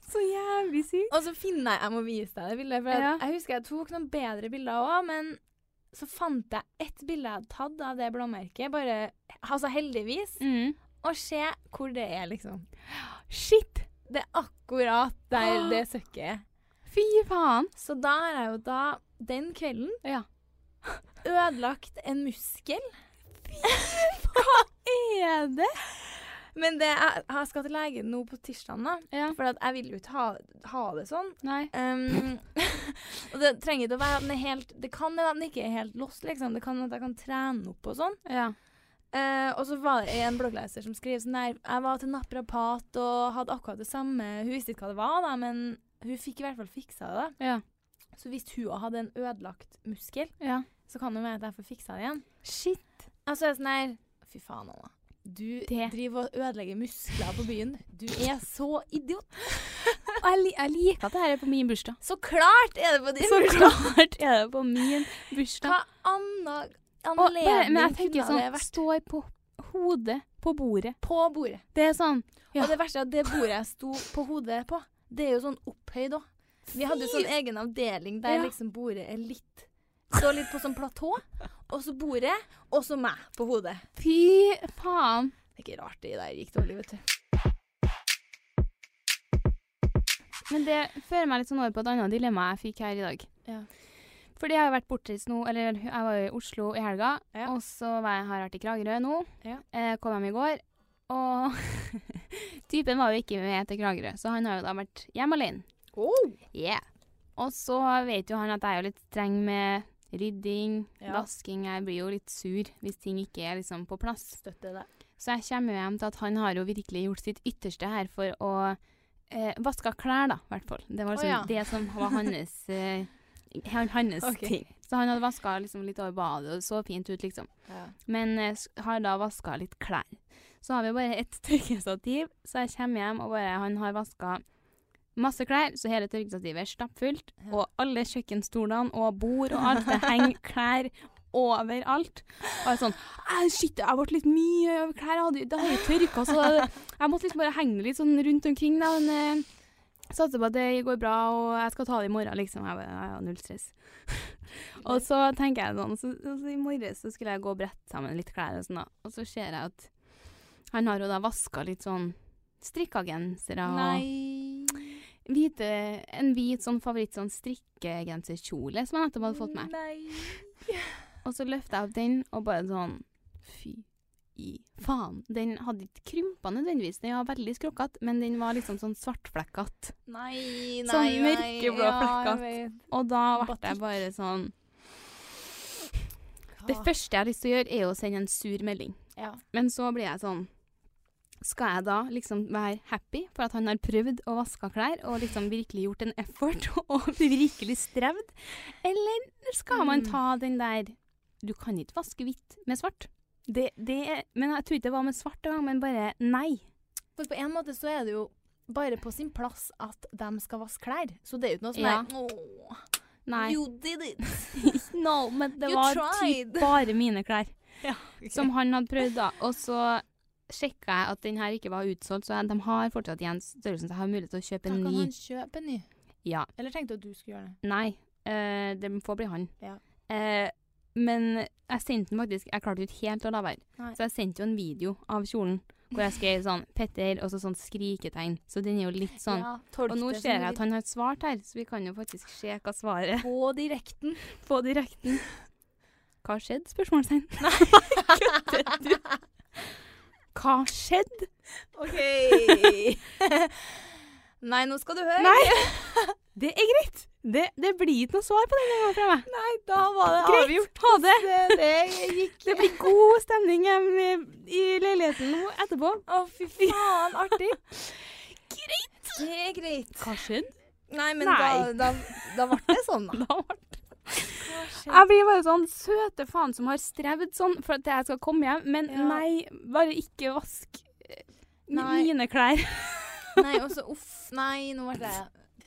Speaker 2: Så jævlig sykt.
Speaker 1: Og så finner jeg Jeg må vise deg det bildet. For at
Speaker 2: Ja.
Speaker 1: Jeg husker jeg tok noen bedre bilder òg, men så fant jeg ett bilde jeg hadde tatt av det blåmerket. Bare, altså heldigvis.
Speaker 2: Mm.
Speaker 1: og se hvor det er, liksom.
Speaker 2: Shit!
Speaker 1: Det er akkurat der det søkket er.
Speaker 2: Fy faen.
Speaker 1: Så da har jeg jo da, den kvelden,
Speaker 2: Ja.
Speaker 1: ødelagt en muskel.
Speaker 2: Hva er det?
Speaker 1: Men det jeg, jeg skal til legen nå på tirsdagen, da.
Speaker 2: Ja.
Speaker 1: For at jeg vil jo ikke ha, ha det sånn.
Speaker 2: Nei.
Speaker 1: Um, og det trenger ikke å være at den er helt Det kan hende at den ikke er helt lost, liksom. Det kan hende at jeg kan trene opp og sånn.
Speaker 2: Ja.
Speaker 1: Eh, og så var det en bloggleser som skrev sånn der Jeg var til naprapat og hadde akkurat det samme. Hun visste ikke hva det var, da, men hun fikk i hvert fall fiksa det.
Speaker 2: Ja.
Speaker 1: da. Så hvis hun også hadde en ødelagt muskel,
Speaker 2: ja.
Speaker 1: så kan det være at jeg får fiksa det igjen.
Speaker 2: Shit.
Speaker 1: Og så er jeg sånn her Fy faen, Anna. Du
Speaker 2: Det-
Speaker 1: driver og ødelegger muskler på byen. Du er så idiot.
Speaker 2: Og jeg, li- jeg liker at det her er på min bursdag.
Speaker 1: Så klart er det på din
Speaker 2: Så
Speaker 1: bursdag!
Speaker 2: klart er det på min bursdag.
Speaker 1: Hva annet
Speaker 2: Og
Speaker 1: anledning
Speaker 2: bare, men jeg
Speaker 1: kunne
Speaker 2: tenker
Speaker 1: det
Speaker 2: sånn,
Speaker 1: vært?
Speaker 2: står på hodet på bordet.
Speaker 1: På bordet.
Speaker 2: Det er sånn Ja.
Speaker 1: Og det verste er at det bordet jeg sto på hodet på, det er jo sånn opphøyd òg. Vi hadde jo sånn egen avdeling der
Speaker 2: Ja.
Speaker 1: liksom bordet er litt Står litt på sånn platå, og så bordet, og så meg på hodet.
Speaker 2: Fy faen.
Speaker 1: Det er ikke rart det der gikk dårlig, vet du.
Speaker 2: Men det fører meg litt sånn over på et annet dilemma jeg fikk her i dag.
Speaker 1: Ja.
Speaker 2: Fordi jeg har jo vært bortreist nå, eller jeg var jo i Oslo i helga,
Speaker 1: Ja.
Speaker 2: og så var jeg, har jeg vært i Kragerø nå.
Speaker 1: Ja.
Speaker 2: Eh, kom hjem i går, og typen var jo ikke med til Kragerø, så han har jo da vært hjemme alene. Oh! Yeah. Og så vet jo han at jeg er jo litt streng med rydding,
Speaker 1: Ja.
Speaker 2: vasking. Jeg blir jo litt sur hvis ting ikke er liksom på plass.
Speaker 1: Støtter deg.
Speaker 2: Så jeg kommer jo hjem til at han har jo virkelig gjort sitt ytterste her for å eh, vaske klær, da, i hvert fall. Det var
Speaker 1: Å,
Speaker 2: liksom
Speaker 1: ja.
Speaker 2: det som var hans, eh, han- hans
Speaker 1: Ok.
Speaker 2: ting. Så han hadde vaska liksom litt over badet, og det så fint ut, liksom.
Speaker 1: Ja.
Speaker 2: Men eh, s- har da vaska litt klær. Så har vi bare et tørkestativ, så jeg kommer hjem og bare Han har vaska masse klær, så hele tørkestativet er stappfullt.
Speaker 1: Ja.
Speaker 2: Og alle kjøkkenstolene og bord og alt. Det henger klær overalt. Og jeg er sånn «Æ, Shit, jeg ble litt mye av klær. Jeg hadde, det har jo tørka, så jeg måtte liksom bare henge det litt sånn rundt omkring. Da, men eh, satser på at det går bra, og jeg skal ta det i morgen, liksom. Jeg bare, «Ja, ja, null stress. Og så tenker jeg sånn, så, så, så i morges så skulle jeg gå og brette sammen litt klær og sånn da. Og så ser jeg at han har jo da vaska litt sånn strikka gensere og
Speaker 1: Nei
Speaker 2: hvite, en hvit sånn favoritt sånn strikkegenserkjole som jeg nettopp hadde fått meg.
Speaker 1: Nei.
Speaker 2: Og så løfta jeg opp den og bare sånn Fy i faen. Den hadde ikke krympa nødvendigvis, den var veldig skrukkete, men den var liksom sånn svartflekkete.
Speaker 1: Nei, nei,
Speaker 2: Sånn
Speaker 1: nei.
Speaker 2: mørkeblå
Speaker 1: jeg
Speaker 2: flekker.
Speaker 1: vet.
Speaker 2: Og da ble
Speaker 1: Batikk.
Speaker 2: jeg bare sånn Det første jeg har lyst til å gjøre, er å sende en sur melding.
Speaker 1: Ja.
Speaker 2: Men så blir jeg sånn Skal jeg da liksom være happy for at han har prøvd å vaske klær og liksom virkelig gjort en effort og virkelig strevd? Eller skal man
Speaker 1: Mm.
Speaker 2: ta den der Du kan ikke vaske hvitt med svart. Det, det er, men jeg tror ikke det var med svart engang, men bare nei.
Speaker 1: For på en måte så er det jo bare på sin plass at de skal vaske klær. Så det er jo ikke noe sånn
Speaker 2: Ja.
Speaker 1: der, «Åh,
Speaker 2: Nei.
Speaker 1: You did it!
Speaker 2: no, men det
Speaker 1: You
Speaker 2: var
Speaker 1: tried.
Speaker 2: typ bare mine klær. Som
Speaker 1: Som
Speaker 2: han hadde prøvd, da. Og så sjekka jeg at den her ikke var utsolgt, så de har fortsatt igjen størrelsen, så jeg har mulighet til å kjøpe
Speaker 1: da
Speaker 2: en
Speaker 1: kan
Speaker 2: ny.
Speaker 1: han kjøpe en ny.
Speaker 2: Ja.
Speaker 1: Eller tenkte du at du skulle gjøre det?
Speaker 2: Nei, eh, det får bli han.
Speaker 1: Ja.
Speaker 2: Eh, men jeg sendte den faktisk Jeg klarte jo ikke helt å la være.
Speaker 1: Nei.
Speaker 2: Så jeg sendte jo en video av kjolen hvor jeg skrev sånn 'Petter' og så sånn skriketegn. Så den er jo litt sånn.
Speaker 1: Ja,
Speaker 2: og nå ser jeg at han har svart her, så vi kan jo faktisk se hva svaret
Speaker 1: På direkten.
Speaker 2: på direkten. Hva skjedde? Spørsmålstegn. Nei, kødder du? Hva skjedde?
Speaker 1: OK. Nei, nå skal du høre.
Speaker 2: Det er greit. Det, det blir ikke noe svar på den gangen fra meg.
Speaker 1: Nei, da var det
Speaker 2: Greit.
Speaker 1: avgjort.
Speaker 2: Ha det.
Speaker 1: Det, det gikk
Speaker 2: Det blir god stemning hjemme i leiligheten nå etterpå.
Speaker 1: Å, fy faen, artig.
Speaker 2: Greit.
Speaker 1: Det er greit.
Speaker 2: Hva skjedde?
Speaker 1: Nei, men
Speaker 2: Nei.
Speaker 1: Da, da, da ble det sånn, da.
Speaker 2: Jeg blir bare sånn søte faen som har strevd sånn for at jeg skal komme hjem, men
Speaker 1: Ja.
Speaker 2: nei, bare ikke vask eh, mi-
Speaker 1: Nei.
Speaker 2: mine klær.
Speaker 1: Nei, og så uff. Nei, nå ble det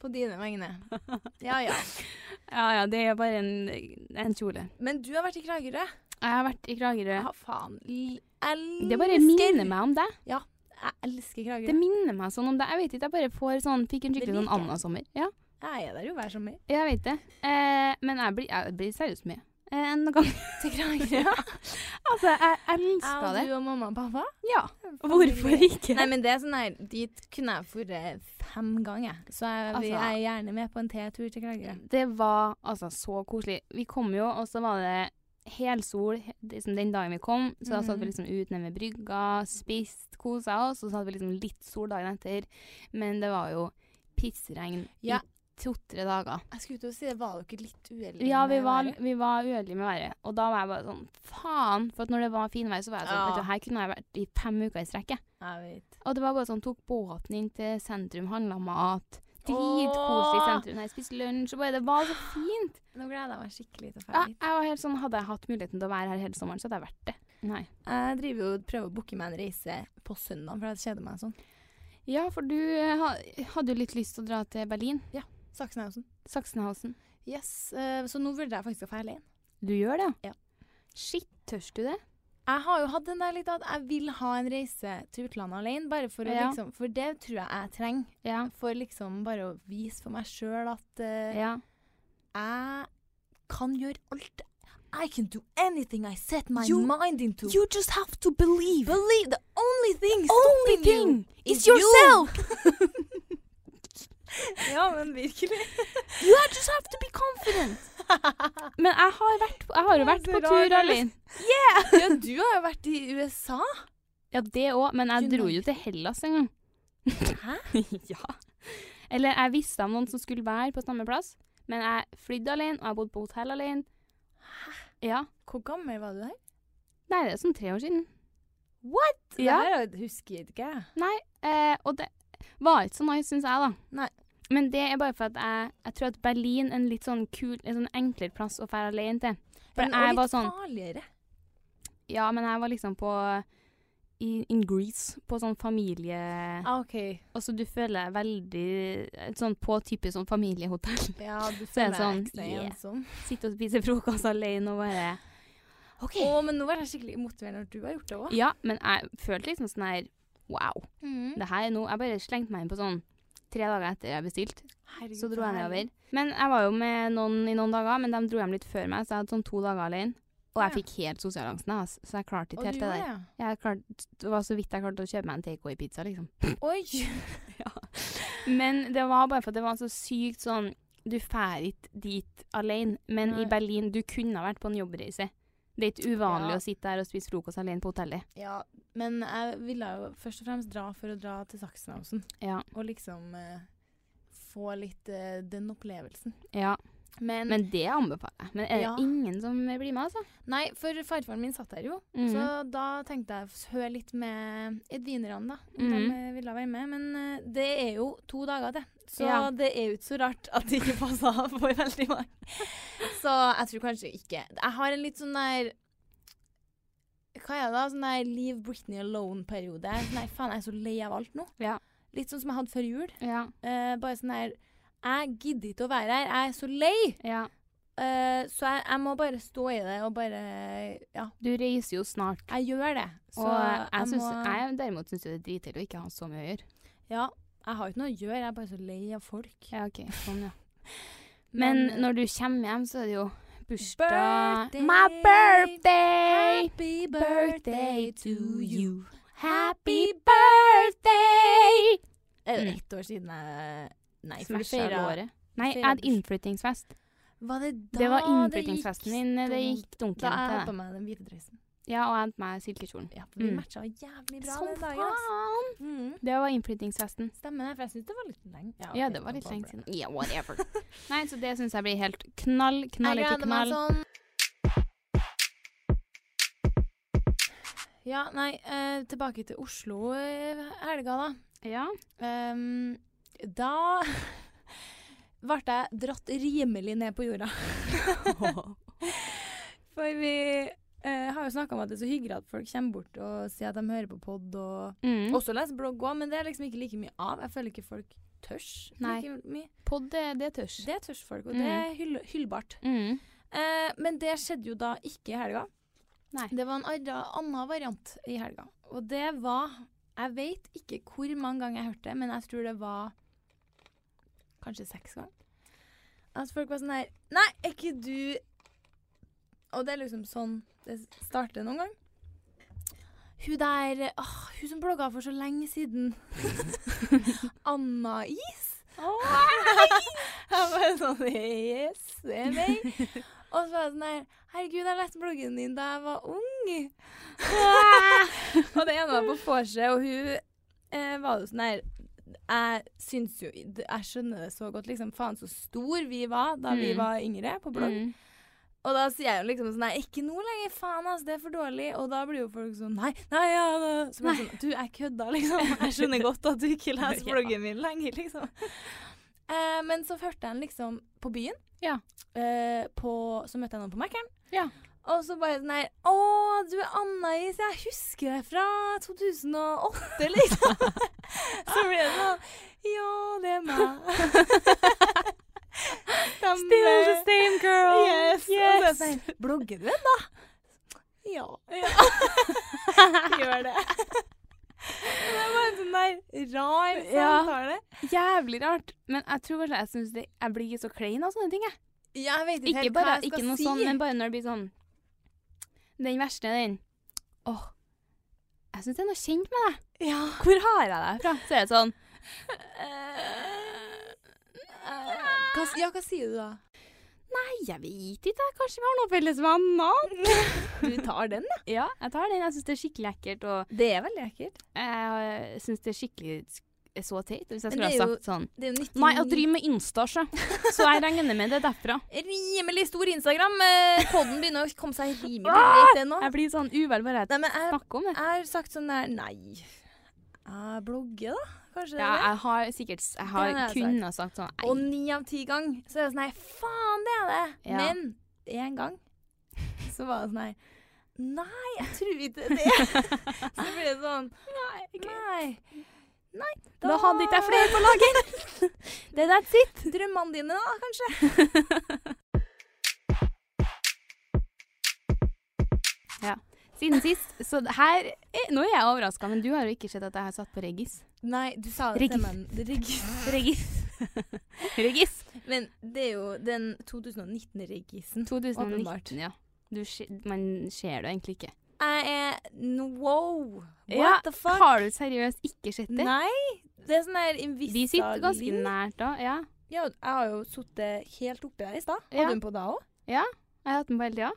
Speaker 1: på dine vegne. Ja, ja.
Speaker 2: Ja ja, det er bare en, en kjole.
Speaker 1: Men du har vært i Kragerø.
Speaker 2: Jeg har vært i Kragerø.
Speaker 1: Ja, faen. L- Elsker
Speaker 2: Det bare minner meg om deg.
Speaker 1: Jeg elsker
Speaker 2: Det
Speaker 1: Kragerø.
Speaker 2: minner meg sånn om deg. Jeg vet ikke, jeg bare får sånn, fikk en
Speaker 1: Det
Speaker 2: skikkelig sånn
Speaker 1: liker jeg.
Speaker 2: Anna-sommer. Ja,
Speaker 1: Jeg er der jo hver sommer.
Speaker 2: jeg vet det. Eh, men jeg blir, jeg blir seriøst med. eh, en gang.
Speaker 1: Til Kragerø?
Speaker 2: Altså, jeg elska
Speaker 1: Jeg
Speaker 2: det.
Speaker 1: og du og mamma og pappa?
Speaker 2: Ja. Hvorfor ikke?
Speaker 1: Nei, men det er sånn her, Dit kunne jeg dratt fem ganger. Så jeg, vi-
Speaker 2: Altså-
Speaker 1: jeg er gjerne med på en T-tur til Kragerø.
Speaker 2: Det var altså så koselig. Vi kom jo, og så var det helsol he- liksom den dagen vi kom. Så da satt vi
Speaker 1: Mhm.
Speaker 2: liksom ut nede ved brygga, spist, kosa oss. Og så hadde vi liksom litt sol dagen etter. Men det var jo pissregn
Speaker 1: Ja.
Speaker 2: i to-tre dager.
Speaker 1: Jeg skulle til å si det, var dere litt uheldige?
Speaker 2: Ja, vi
Speaker 1: med
Speaker 2: var,
Speaker 1: været?
Speaker 2: vi var uheldige med været. Og da var jeg bare sånn faen. For at når det var finvær, så var jeg sånn
Speaker 1: Ja.
Speaker 2: vet du, Her kunne jeg vært i fem uker i strekk. jeg.
Speaker 1: Jeg vet.
Speaker 2: Og det var bare sånn, tok båten inn til sentrum, handla mat. Dritkoselig
Speaker 1: Åh.
Speaker 2: sentrum. Jeg spiste lunsj. og bare, Det var så fint.
Speaker 1: Nå gleder jeg meg skikkelig til å
Speaker 2: Ja,
Speaker 1: dra dit.
Speaker 2: jeg var helt sånn, Hadde jeg hatt muligheten til å være her hele sommeren, så hadde jeg vært det. Nei.
Speaker 1: Jeg driver jo og prøver å booke meg en reise på søndag, for jeg kjeder meg sånn.
Speaker 2: Ja, for du eh, ha- hadde jo litt lyst til å dra til Berlin.
Speaker 1: Saksenhausen.
Speaker 2: Saksenhausen.
Speaker 1: Yes, eh, Så nå vurderer jeg faktisk å dra alene.
Speaker 2: Du gjør det?
Speaker 1: Ja.
Speaker 2: Shit, tørs du det?
Speaker 1: Jeg har jo hatt den der litt at jeg vil ha en reise til utlandet alene, bare for, å
Speaker 2: Ja.
Speaker 1: liksom, for det tror jeg jeg trenger.
Speaker 2: Ja.
Speaker 1: For liksom bare å vise for meg sjøl at eh,
Speaker 2: ja.
Speaker 1: jeg kan gjøre alt. I can do anything I set my
Speaker 2: You-
Speaker 1: mind into.
Speaker 2: just have to believe.
Speaker 1: believe the only thing
Speaker 2: Only
Speaker 1: stopping
Speaker 2: thing
Speaker 1: you
Speaker 2: is
Speaker 1: you.
Speaker 2: yourself.
Speaker 1: ja, men virkelig.
Speaker 2: You just have to be confident. Men jeg har, vært, jeg har jo vært
Speaker 1: Det
Speaker 2: på
Speaker 1: er så
Speaker 2: tur
Speaker 1: rart.
Speaker 2: alene.
Speaker 1: ja, du har jo vært i USA.
Speaker 2: Ja, det òg, men jeg
Speaker 1: Du
Speaker 2: dro jo til Hellas en gang.
Speaker 1: Hæ?
Speaker 2: ja. Eller jeg visste om noen som skulle være på samme plass, men jeg flydde alene, og jeg bodde på hotell alene. Ja.
Speaker 1: Hvor gammel var du der?
Speaker 2: Nei, det er sånn tre år siden.
Speaker 1: What?
Speaker 2: Ja.
Speaker 1: Det her husker jeg ikke.
Speaker 2: Eh, og det var ikke så nice, syns jeg, da.
Speaker 1: Nei.
Speaker 2: Men det er bare for at jeg, jeg tror at Berlin er en litt sånn kul, en sånn enklere plass å dra alene til. For
Speaker 1: Men, og
Speaker 2: jeg
Speaker 1: litt
Speaker 2: var sånn
Speaker 1: farligere.
Speaker 2: Ja, men jeg var liksom på i, In Greece, på sånn familie...
Speaker 1: Ah, ok.
Speaker 2: Altså, du føler deg veldig eh, sånn på typisk sånn familiehotell.
Speaker 1: Ja, du
Speaker 2: Så
Speaker 1: føler
Speaker 2: er det
Speaker 1: deg
Speaker 2: sånn,
Speaker 1: ekstra
Speaker 2: yeah.
Speaker 1: ensom.
Speaker 2: Sitte og spise frokost alene og bare OK.
Speaker 1: Å, men nå var jeg skikkelig motivert når du har gjort det òg.
Speaker 2: Ja, men jeg følte liksom sånn her Wow.
Speaker 1: Mm.
Speaker 2: Det her er noe Jeg bare slengte meg inn på sånn tre dager etter jeg bestilte. Så dro jeg nedover. Men jeg var jo med noen i noen dager, men de dro hjem litt før meg, så jeg hadde sånn to dager alene. Og jeg
Speaker 1: Ja.
Speaker 2: fikk helt sosialangsten, ass, så jeg klarte
Speaker 1: Og
Speaker 2: ikke
Speaker 1: du
Speaker 2: helt det
Speaker 1: gjorde
Speaker 2: der.
Speaker 1: det?
Speaker 2: Jeg klarte, det var så vidt jeg klarte å kjøpe meg en takeaway-pizza, liksom.
Speaker 1: ja. Oi!
Speaker 2: Men det var bare for at det var så sykt sånn Du drar ikke dit alene, men
Speaker 1: Nei.
Speaker 2: i Berlin Du kunne ha vært på en jobbreise. Det er ikke uvanlig
Speaker 1: Ja.
Speaker 2: å sitte der og spise frokost alene på hotellet.
Speaker 1: Ja, men jeg ville jo først og fremst dra for å dra til Saksenhausen.
Speaker 2: Ja.
Speaker 1: Og liksom eh, få litt eh, den opplevelsen.
Speaker 2: ja.
Speaker 1: Men,
Speaker 2: Men det anbefaler jeg. Men er det
Speaker 1: Ja.
Speaker 2: ingen som blir med, altså?
Speaker 1: nei, for farfaren min satt der jo.
Speaker 2: Mhm.
Speaker 1: Så da tenkte jeg f- hør litt med edvinerne, da. Om
Speaker 2: Mhm.
Speaker 1: de eh, ville være med. Men eh, det er jo to dager til. Så
Speaker 2: Ja.
Speaker 1: det er jo ikke så rart at det ikke passa for veldig mange. Så jeg tror kanskje ikke Jeg har en litt sånn der Hva er det da? Sånn der Leave Britney Alone-periode. Sånn der, faen, jeg er så lei av alt nå.
Speaker 2: Ja.
Speaker 1: Litt sånn som jeg hadde før jul.
Speaker 2: Ja.
Speaker 1: Eh, bare sånn her Jeg gidder ikke å være her. Jeg er så lei.
Speaker 2: ja.
Speaker 1: Eh, så jeg, jeg må bare stå i det og bare Ja,
Speaker 2: Du reiser jo snart.
Speaker 1: jeg gjør det. Så
Speaker 2: og jeg, synes,
Speaker 1: må
Speaker 2: jeg derimot syns det er dritkjedelig å ikke ha så mye å gjøre.
Speaker 1: Ja. Jeg har jo ikke noe å gjøre, jeg er bare så lei av folk.
Speaker 2: Ja, ok, sånn, ja. Men
Speaker 1: eh,
Speaker 2: når du kommer hjem, så er det jo bursdag
Speaker 1: Birthday.
Speaker 2: My birthday!
Speaker 1: Happy birthday to you.
Speaker 2: Happy birthday!
Speaker 1: Er det
Speaker 2: Mm.
Speaker 1: ett år siden jeg Nei, for du
Speaker 2: Smasha
Speaker 1: feira
Speaker 2: låret. Nei,
Speaker 1: feira
Speaker 2: jeg hadde
Speaker 1: burs-
Speaker 2: innflyttingsfest.
Speaker 1: Var det da
Speaker 2: det var
Speaker 1: det gikk
Speaker 2: innflyttingsfesten min. Det
Speaker 1: dumt?
Speaker 2: gikk dunken
Speaker 1: Da jeg
Speaker 2: til
Speaker 1: hadde på
Speaker 2: det.
Speaker 1: meg den hvite dressen.
Speaker 2: Ja, og jeg hadde på meg silkekjolen.
Speaker 1: Ja, vi
Speaker 2: Mm.
Speaker 1: matcha jævlig bra
Speaker 2: Som
Speaker 1: den dagen. ass.
Speaker 2: faen!
Speaker 1: Mm.
Speaker 2: Det var innflyttingsfesten.
Speaker 1: Stemmer det, for jeg syns det var litt lenge.
Speaker 2: Ja,
Speaker 1: ok,
Speaker 2: det var litt lenge
Speaker 1: bra.
Speaker 2: siden. Yeah, whatever. Nei, så det syns jeg blir helt knall, knall
Speaker 1: Jeg
Speaker 2: etter
Speaker 1: gleder meg
Speaker 2: knall.
Speaker 1: sånn. Ja, nei, eh, tilbake til Oslo eh, helga, da.
Speaker 2: Ja.
Speaker 1: Ehm, da ble jeg dratt rimelig ned på jorda. For vi eh, har jo snakka om at det er så hyggelig at folk kommer bort og sier at de hører på pod og
Speaker 2: Mm.
Speaker 1: Også leser blogg òg, men det er liksom ikke like mye av. Jeg føler ikke folk tørs
Speaker 2: Nei. Mm.
Speaker 1: like mye.
Speaker 2: Podd, det- det tørs.
Speaker 1: Det tørs folk, og det er hyll hyllbart.
Speaker 2: Mm.
Speaker 1: Eh, men det skjedde jo da ikke i helga.
Speaker 2: Nei.
Speaker 1: Det var en arra- annen variant i helga. Og det var Jeg vet ikke hvor mange ganger jeg hørte det, men jeg tror det var Altså, kanskje seks ganger. At folk var sånn her Nei, er ikke du Og det er liksom sånn det starter noen gang. Hun der åh, Hun som blogga for så lenge siden. Anna Is. jeg bare sånn Yes, det er meg. Og så var jeg sånn her Herregud, jeg leste bloggen din da jeg var ung. og det ene var på vorset, og hun eh, var jo sånn her Jeg syns jo Jeg skjønner det så godt, liksom. Faen så stor vi var da vi
Speaker 2: Mm.
Speaker 1: var yngre på blogg.
Speaker 2: Mm.
Speaker 1: Og da sier jeg jo liksom sånn Nei, ikke nå lenger, faen ass, det er for dårlig. Og da blir jo folk sånn Nei, nei, ja da. Så blir jeg sånn, Du, jeg kødda, liksom. Jeg skjønner godt at du ikke leser
Speaker 2: Ja.
Speaker 1: bloggen min lenger, liksom. Eh, men så hørte jeg den liksom på byen.
Speaker 2: Ja.
Speaker 1: Eh, på, så møtte jeg noen på Mækkern.
Speaker 2: Ja.
Speaker 1: Og så bare sånn her Å, du er Anna-Is, jeg husker deg fra 2008, liksom. så blir det sånn Ja, det er meg.
Speaker 2: Still the same girl.
Speaker 1: Yes. Og så er jeg
Speaker 2: yes.
Speaker 1: sånn, Blogger du ennå? Ja. Gjør det. Det er bare en sånn der rar
Speaker 2: Ja.
Speaker 1: samtale.
Speaker 2: Jævlig rart. Men jeg tror kanskje jeg synes det, jeg blir så klein av sånne ting. Jeg.
Speaker 1: Jeg vet
Speaker 2: Ikke, bare, ikke noe sånn, men bare når det blir sånn Den verste, den. Åh, jeg syns det er noe kjent med deg.
Speaker 1: ja.
Speaker 2: Hvor har jeg deg fra? Så er det sånn
Speaker 1: Hva, ja, hva sier du da?
Speaker 2: Nei, jeg vet ikke. jeg. Kanskje vi har noe felles venner? Du tar den, da. Ja, jeg tar den. Jeg syns det er skikkelig ekkelt. Og
Speaker 1: Det er veldig ekkelt.
Speaker 2: Jeg syns det er skikkelig sk- så teit hvis jeg
Speaker 1: Men det
Speaker 2: skulle ha
Speaker 1: er jo-
Speaker 2: sagt sånn
Speaker 1: Det er jo 99
Speaker 2: Nei, jeg driver med Insta, så. Så jeg regner med det er derfra.
Speaker 1: Rimelig stor Instagram. Eh, Podden begynner å komme seg rimelig greit, det nå.
Speaker 2: Jeg blir sånn uvel bare jeg
Speaker 1: Nei, men jeg,
Speaker 2: snakker om det.
Speaker 1: jeg har sagt sånn der Nei, jeg blogger, da. Kanskje det
Speaker 2: Ja,
Speaker 1: er det?
Speaker 2: jeg har sikkert s- Jeg har
Speaker 1: Den har jeg
Speaker 2: kunnet sagt sånn
Speaker 1: Og
Speaker 2: «Ei,
Speaker 1: ni av ti gang så er det sånn her Faen, det er det!
Speaker 2: Ja.
Speaker 1: Men én gang så var det sånn her Nei, jeg tror ikke det. så blir det sånn Nei. Nei. Nei
Speaker 2: Da hadde ikke jeg flere på lager! det er that's it.
Speaker 1: Drømmene dine, da, kanskje?
Speaker 2: Siden sist. Så d- her eh, Nå er jeg overraska, men du har jo ikke sett at jeg har satt på Regis.
Speaker 1: Nei, du sa
Speaker 2: det til
Speaker 1: meg.
Speaker 2: Regis. Regis.
Speaker 1: Men det er jo den 2019-regisen.
Speaker 2: 2019, ja. Du, se- man ser det jo egentlig ikke.
Speaker 1: Jeg er n- Wow! What
Speaker 2: Ja,
Speaker 1: the fuck?
Speaker 2: Har du seriøst ikke sett det?
Speaker 1: Nei. Det er sånn der Invista
Speaker 2: Vi sitter ganske nært da, ja.
Speaker 1: Ja, jeg har jo sittet helt oppi der i stad. Hadde
Speaker 2: Ja.
Speaker 1: hun på da òg?
Speaker 2: Jeg har hatt den på hele tida.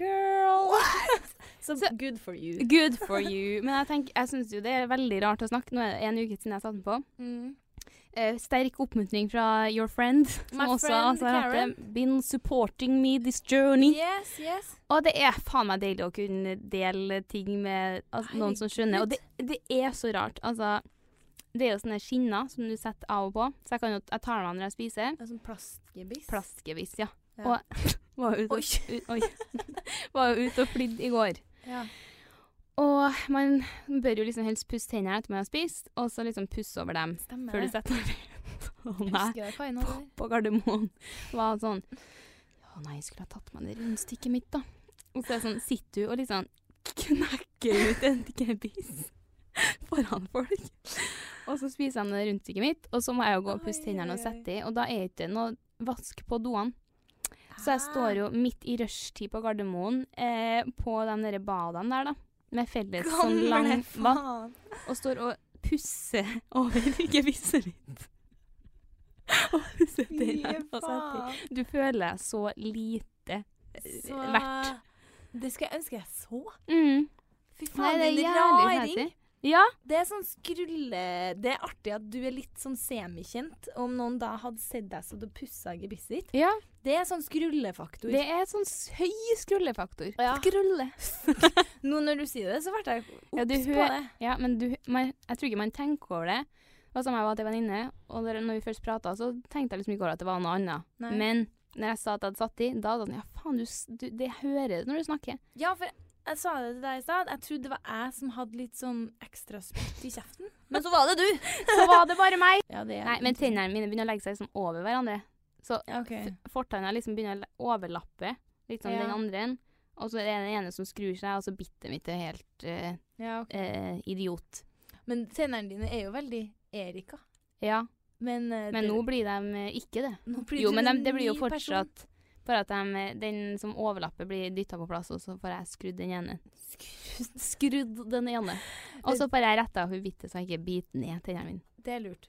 Speaker 1: Girl! Så
Speaker 2: Så-
Speaker 1: good for you.
Speaker 2: Good for you. Men jeg, tenker, jeg syns jo det er veldig rart å snakke. Nå er det en uke siden jeg satte den på.
Speaker 1: Mm.
Speaker 2: Eh, sterk oppmuntring fra your friend. Som
Speaker 1: My
Speaker 2: også
Speaker 1: friend
Speaker 2: altså, har hatt det. Been supporting me this journey.
Speaker 1: Yes, yes.
Speaker 2: Og det er faen meg deilig å kunne dele ting med altså, noen som skjønner. Og det, det er så rart. Altså, det er jo sånne skinner som du setter av og på. Så jeg, kan jo, jeg tar dem av når jeg spiser.
Speaker 1: En sånn plastgebiss.
Speaker 2: Plastgebiss, ja.
Speaker 1: Ja.
Speaker 2: Og var jo ute og, ut, oi. Var jo ute og flydde i går.
Speaker 1: Ja.
Speaker 2: Og man bør jo liksom helst pusse tennene etter man har spist, og så liksom pusse over dem
Speaker 1: Stemmer
Speaker 2: før du sånn?
Speaker 1: det.
Speaker 2: setter deg ned. Nei,
Speaker 1: Husker jeg Kaina der?
Speaker 2: på Gardermoen var han sånn Å nei, jeg skulle ha tatt med det rundstykket mitt, da. Og så er det sånn, sitter du og liksom knekker ut en gebiss foran folk. Og så spiser jeg det rundstykket mitt, og så må jeg jo gå og pusse
Speaker 1: Oi,
Speaker 2: tennene og
Speaker 1: oi,
Speaker 2: sette i, og da er det ikke noe vask på doene. Så
Speaker 1: Ah.
Speaker 2: jeg står jo midt i rushtid på Gardermoen eh, på de der badene der, da. Med felles sånn
Speaker 1: Gamle
Speaker 2: lang vatt.
Speaker 1: faen.
Speaker 2: Og står og pusser over gevisset mitt. og pusser tennene.
Speaker 1: Fy
Speaker 2: og setter i.
Speaker 1: faen.
Speaker 2: Du føler deg så lite eh,
Speaker 1: Så
Speaker 2: verdt.
Speaker 1: Det skulle jeg ønske jeg så.
Speaker 2: Mm.
Speaker 1: Fy
Speaker 2: Nei,
Speaker 1: faen,
Speaker 2: det er
Speaker 1: din
Speaker 2: jævlig
Speaker 1: raring.
Speaker 2: fancy. Ja.
Speaker 1: Det er sånn skrulle... Det er artig at du er litt sånn semikjent. Om noen da hadde sett deg så du pussa gebisset ditt.
Speaker 2: ja.
Speaker 1: Det er sånn skrullefaktor.
Speaker 2: Det er sånn s- høy skrullefaktor.
Speaker 1: Ja.
Speaker 2: Skrulle.
Speaker 1: Nå når du sier det, så ble jeg obs
Speaker 2: Ja, du
Speaker 1: på
Speaker 2: hø-
Speaker 1: det.
Speaker 2: Ja, men du, man, jeg tror ikke man tenker over det. Det var som jeg var til en venninne, og når når vi først prata, så tenkte jeg liksom ikke over at det var noe annet.
Speaker 1: Nei.
Speaker 2: Men når jeg sa at jeg hadde satt i, da var det sånn Ja, faen, du, s- du, det hører du når du snakker.
Speaker 1: Ja, for jeg sa det til deg i stad. Jeg trodde det var jeg som hadde litt sånn ekstra spytt i kjeften. Men så var det du!
Speaker 2: Så var det bare meg!
Speaker 1: Ja, det er
Speaker 2: Nei, men tennene mine begynner å legge seg liksom over hverandre. Så
Speaker 1: Ja, ok.
Speaker 2: f- fortennene liksom begynner å le- overlappe litt sånn
Speaker 1: Ja.
Speaker 2: den andre. en. Og så er det den ene som skrur seg, og så bittet mitt er helt eh,
Speaker 1: Ja, ok.
Speaker 2: eh, idiot.
Speaker 1: Men tennene dine er jo veldig Erika.
Speaker 2: Ja,
Speaker 1: Men, eh,
Speaker 2: men
Speaker 1: det-
Speaker 2: nå blir de eh, ikke det.
Speaker 1: nå blir
Speaker 2: Jo,
Speaker 1: du
Speaker 2: men
Speaker 1: en
Speaker 2: dem- det blir jo
Speaker 1: ny person.
Speaker 2: fortsatt For at de, eh, den som overlapper, blir dytta på plass, og så får jeg skrudd den ene. Skrudd, den ene. Og så får jeg retta hun hvite, så jeg ikke biter ned tennene mine.
Speaker 1: Det er lurt.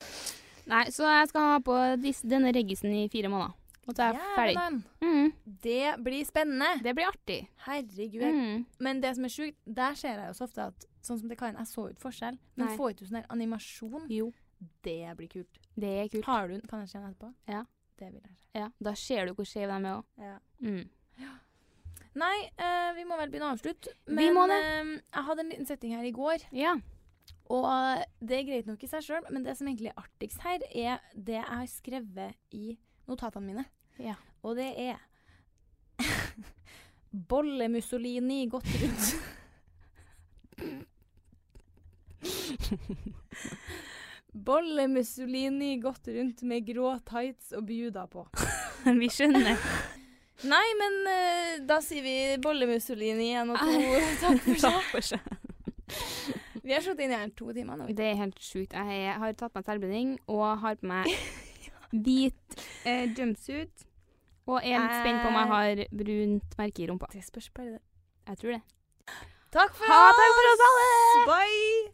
Speaker 2: Nei, så jeg skal ha på dis, denne reggisen i fire måneder. Og så er jeg ferdig.
Speaker 1: Jævlen.
Speaker 2: Mm,
Speaker 1: Det blir spennende.
Speaker 2: det blir artig.
Speaker 1: Herregud. jeg-
Speaker 2: Mm.
Speaker 1: Men det som er sjukt, der ser jeg jo så ofte at Sånn som det kan, jeg så ut forskjell, men
Speaker 2: Nei.
Speaker 1: få ut sånn her animasjon,
Speaker 2: Jo,
Speaker 1: det blir kult.
Speaker 2: det er kult.
Speaker 1: Har du den? Kan jeg se den etterpå?
Speaker 2: Ja.
Speaker 1: Det vil jeg se.
Speaker 2: Ja, da ser du hvor skeive de er òg.
Speaker 1: Ja.
Speaker 2: Mm.
Speaker 1: Nei, eh, vi må vel begynne å avslutte.
Speaker 2: Vi
Speaker 1: Men
Speaker 2: må
Speaker 1: eh, jeg hadde en liten setting her i går.
Speaker 2: Ja.
Speaker 1: Og det er greit nok i seg sjøl, men det som egentlig er artigst her, er det jeg har skrevet i notatene mine.
Speaker 2: Ja.
Speaker 1: Og det er Bolle-Mussolini gått rundt. Bolle-Mussolini gått rundt med grå tights og bjuda på.
Speaker 2: Vi skjønner.
Speaker 1: Nei, men eh, da sier vi Bolle-Mussolini igjen og to. Takk for seg. Vi har slått inn i her to timer nå.
Speaker 2: Det er helt sjukt. Jeg har tatt meg selvbinding og har på meg hvit eh, jumpsuit. Og er litt spent på om jeg har brunt merke i rumpa.
Speaker 1: Det spørs bare det.
Speaker 2: Jeg tror det.
Speaker 1: Takk for
Speaker 2: Ha
Speaker 1: oss!
Speaker 2: takk for oss alle!
Speaker 1: Bye!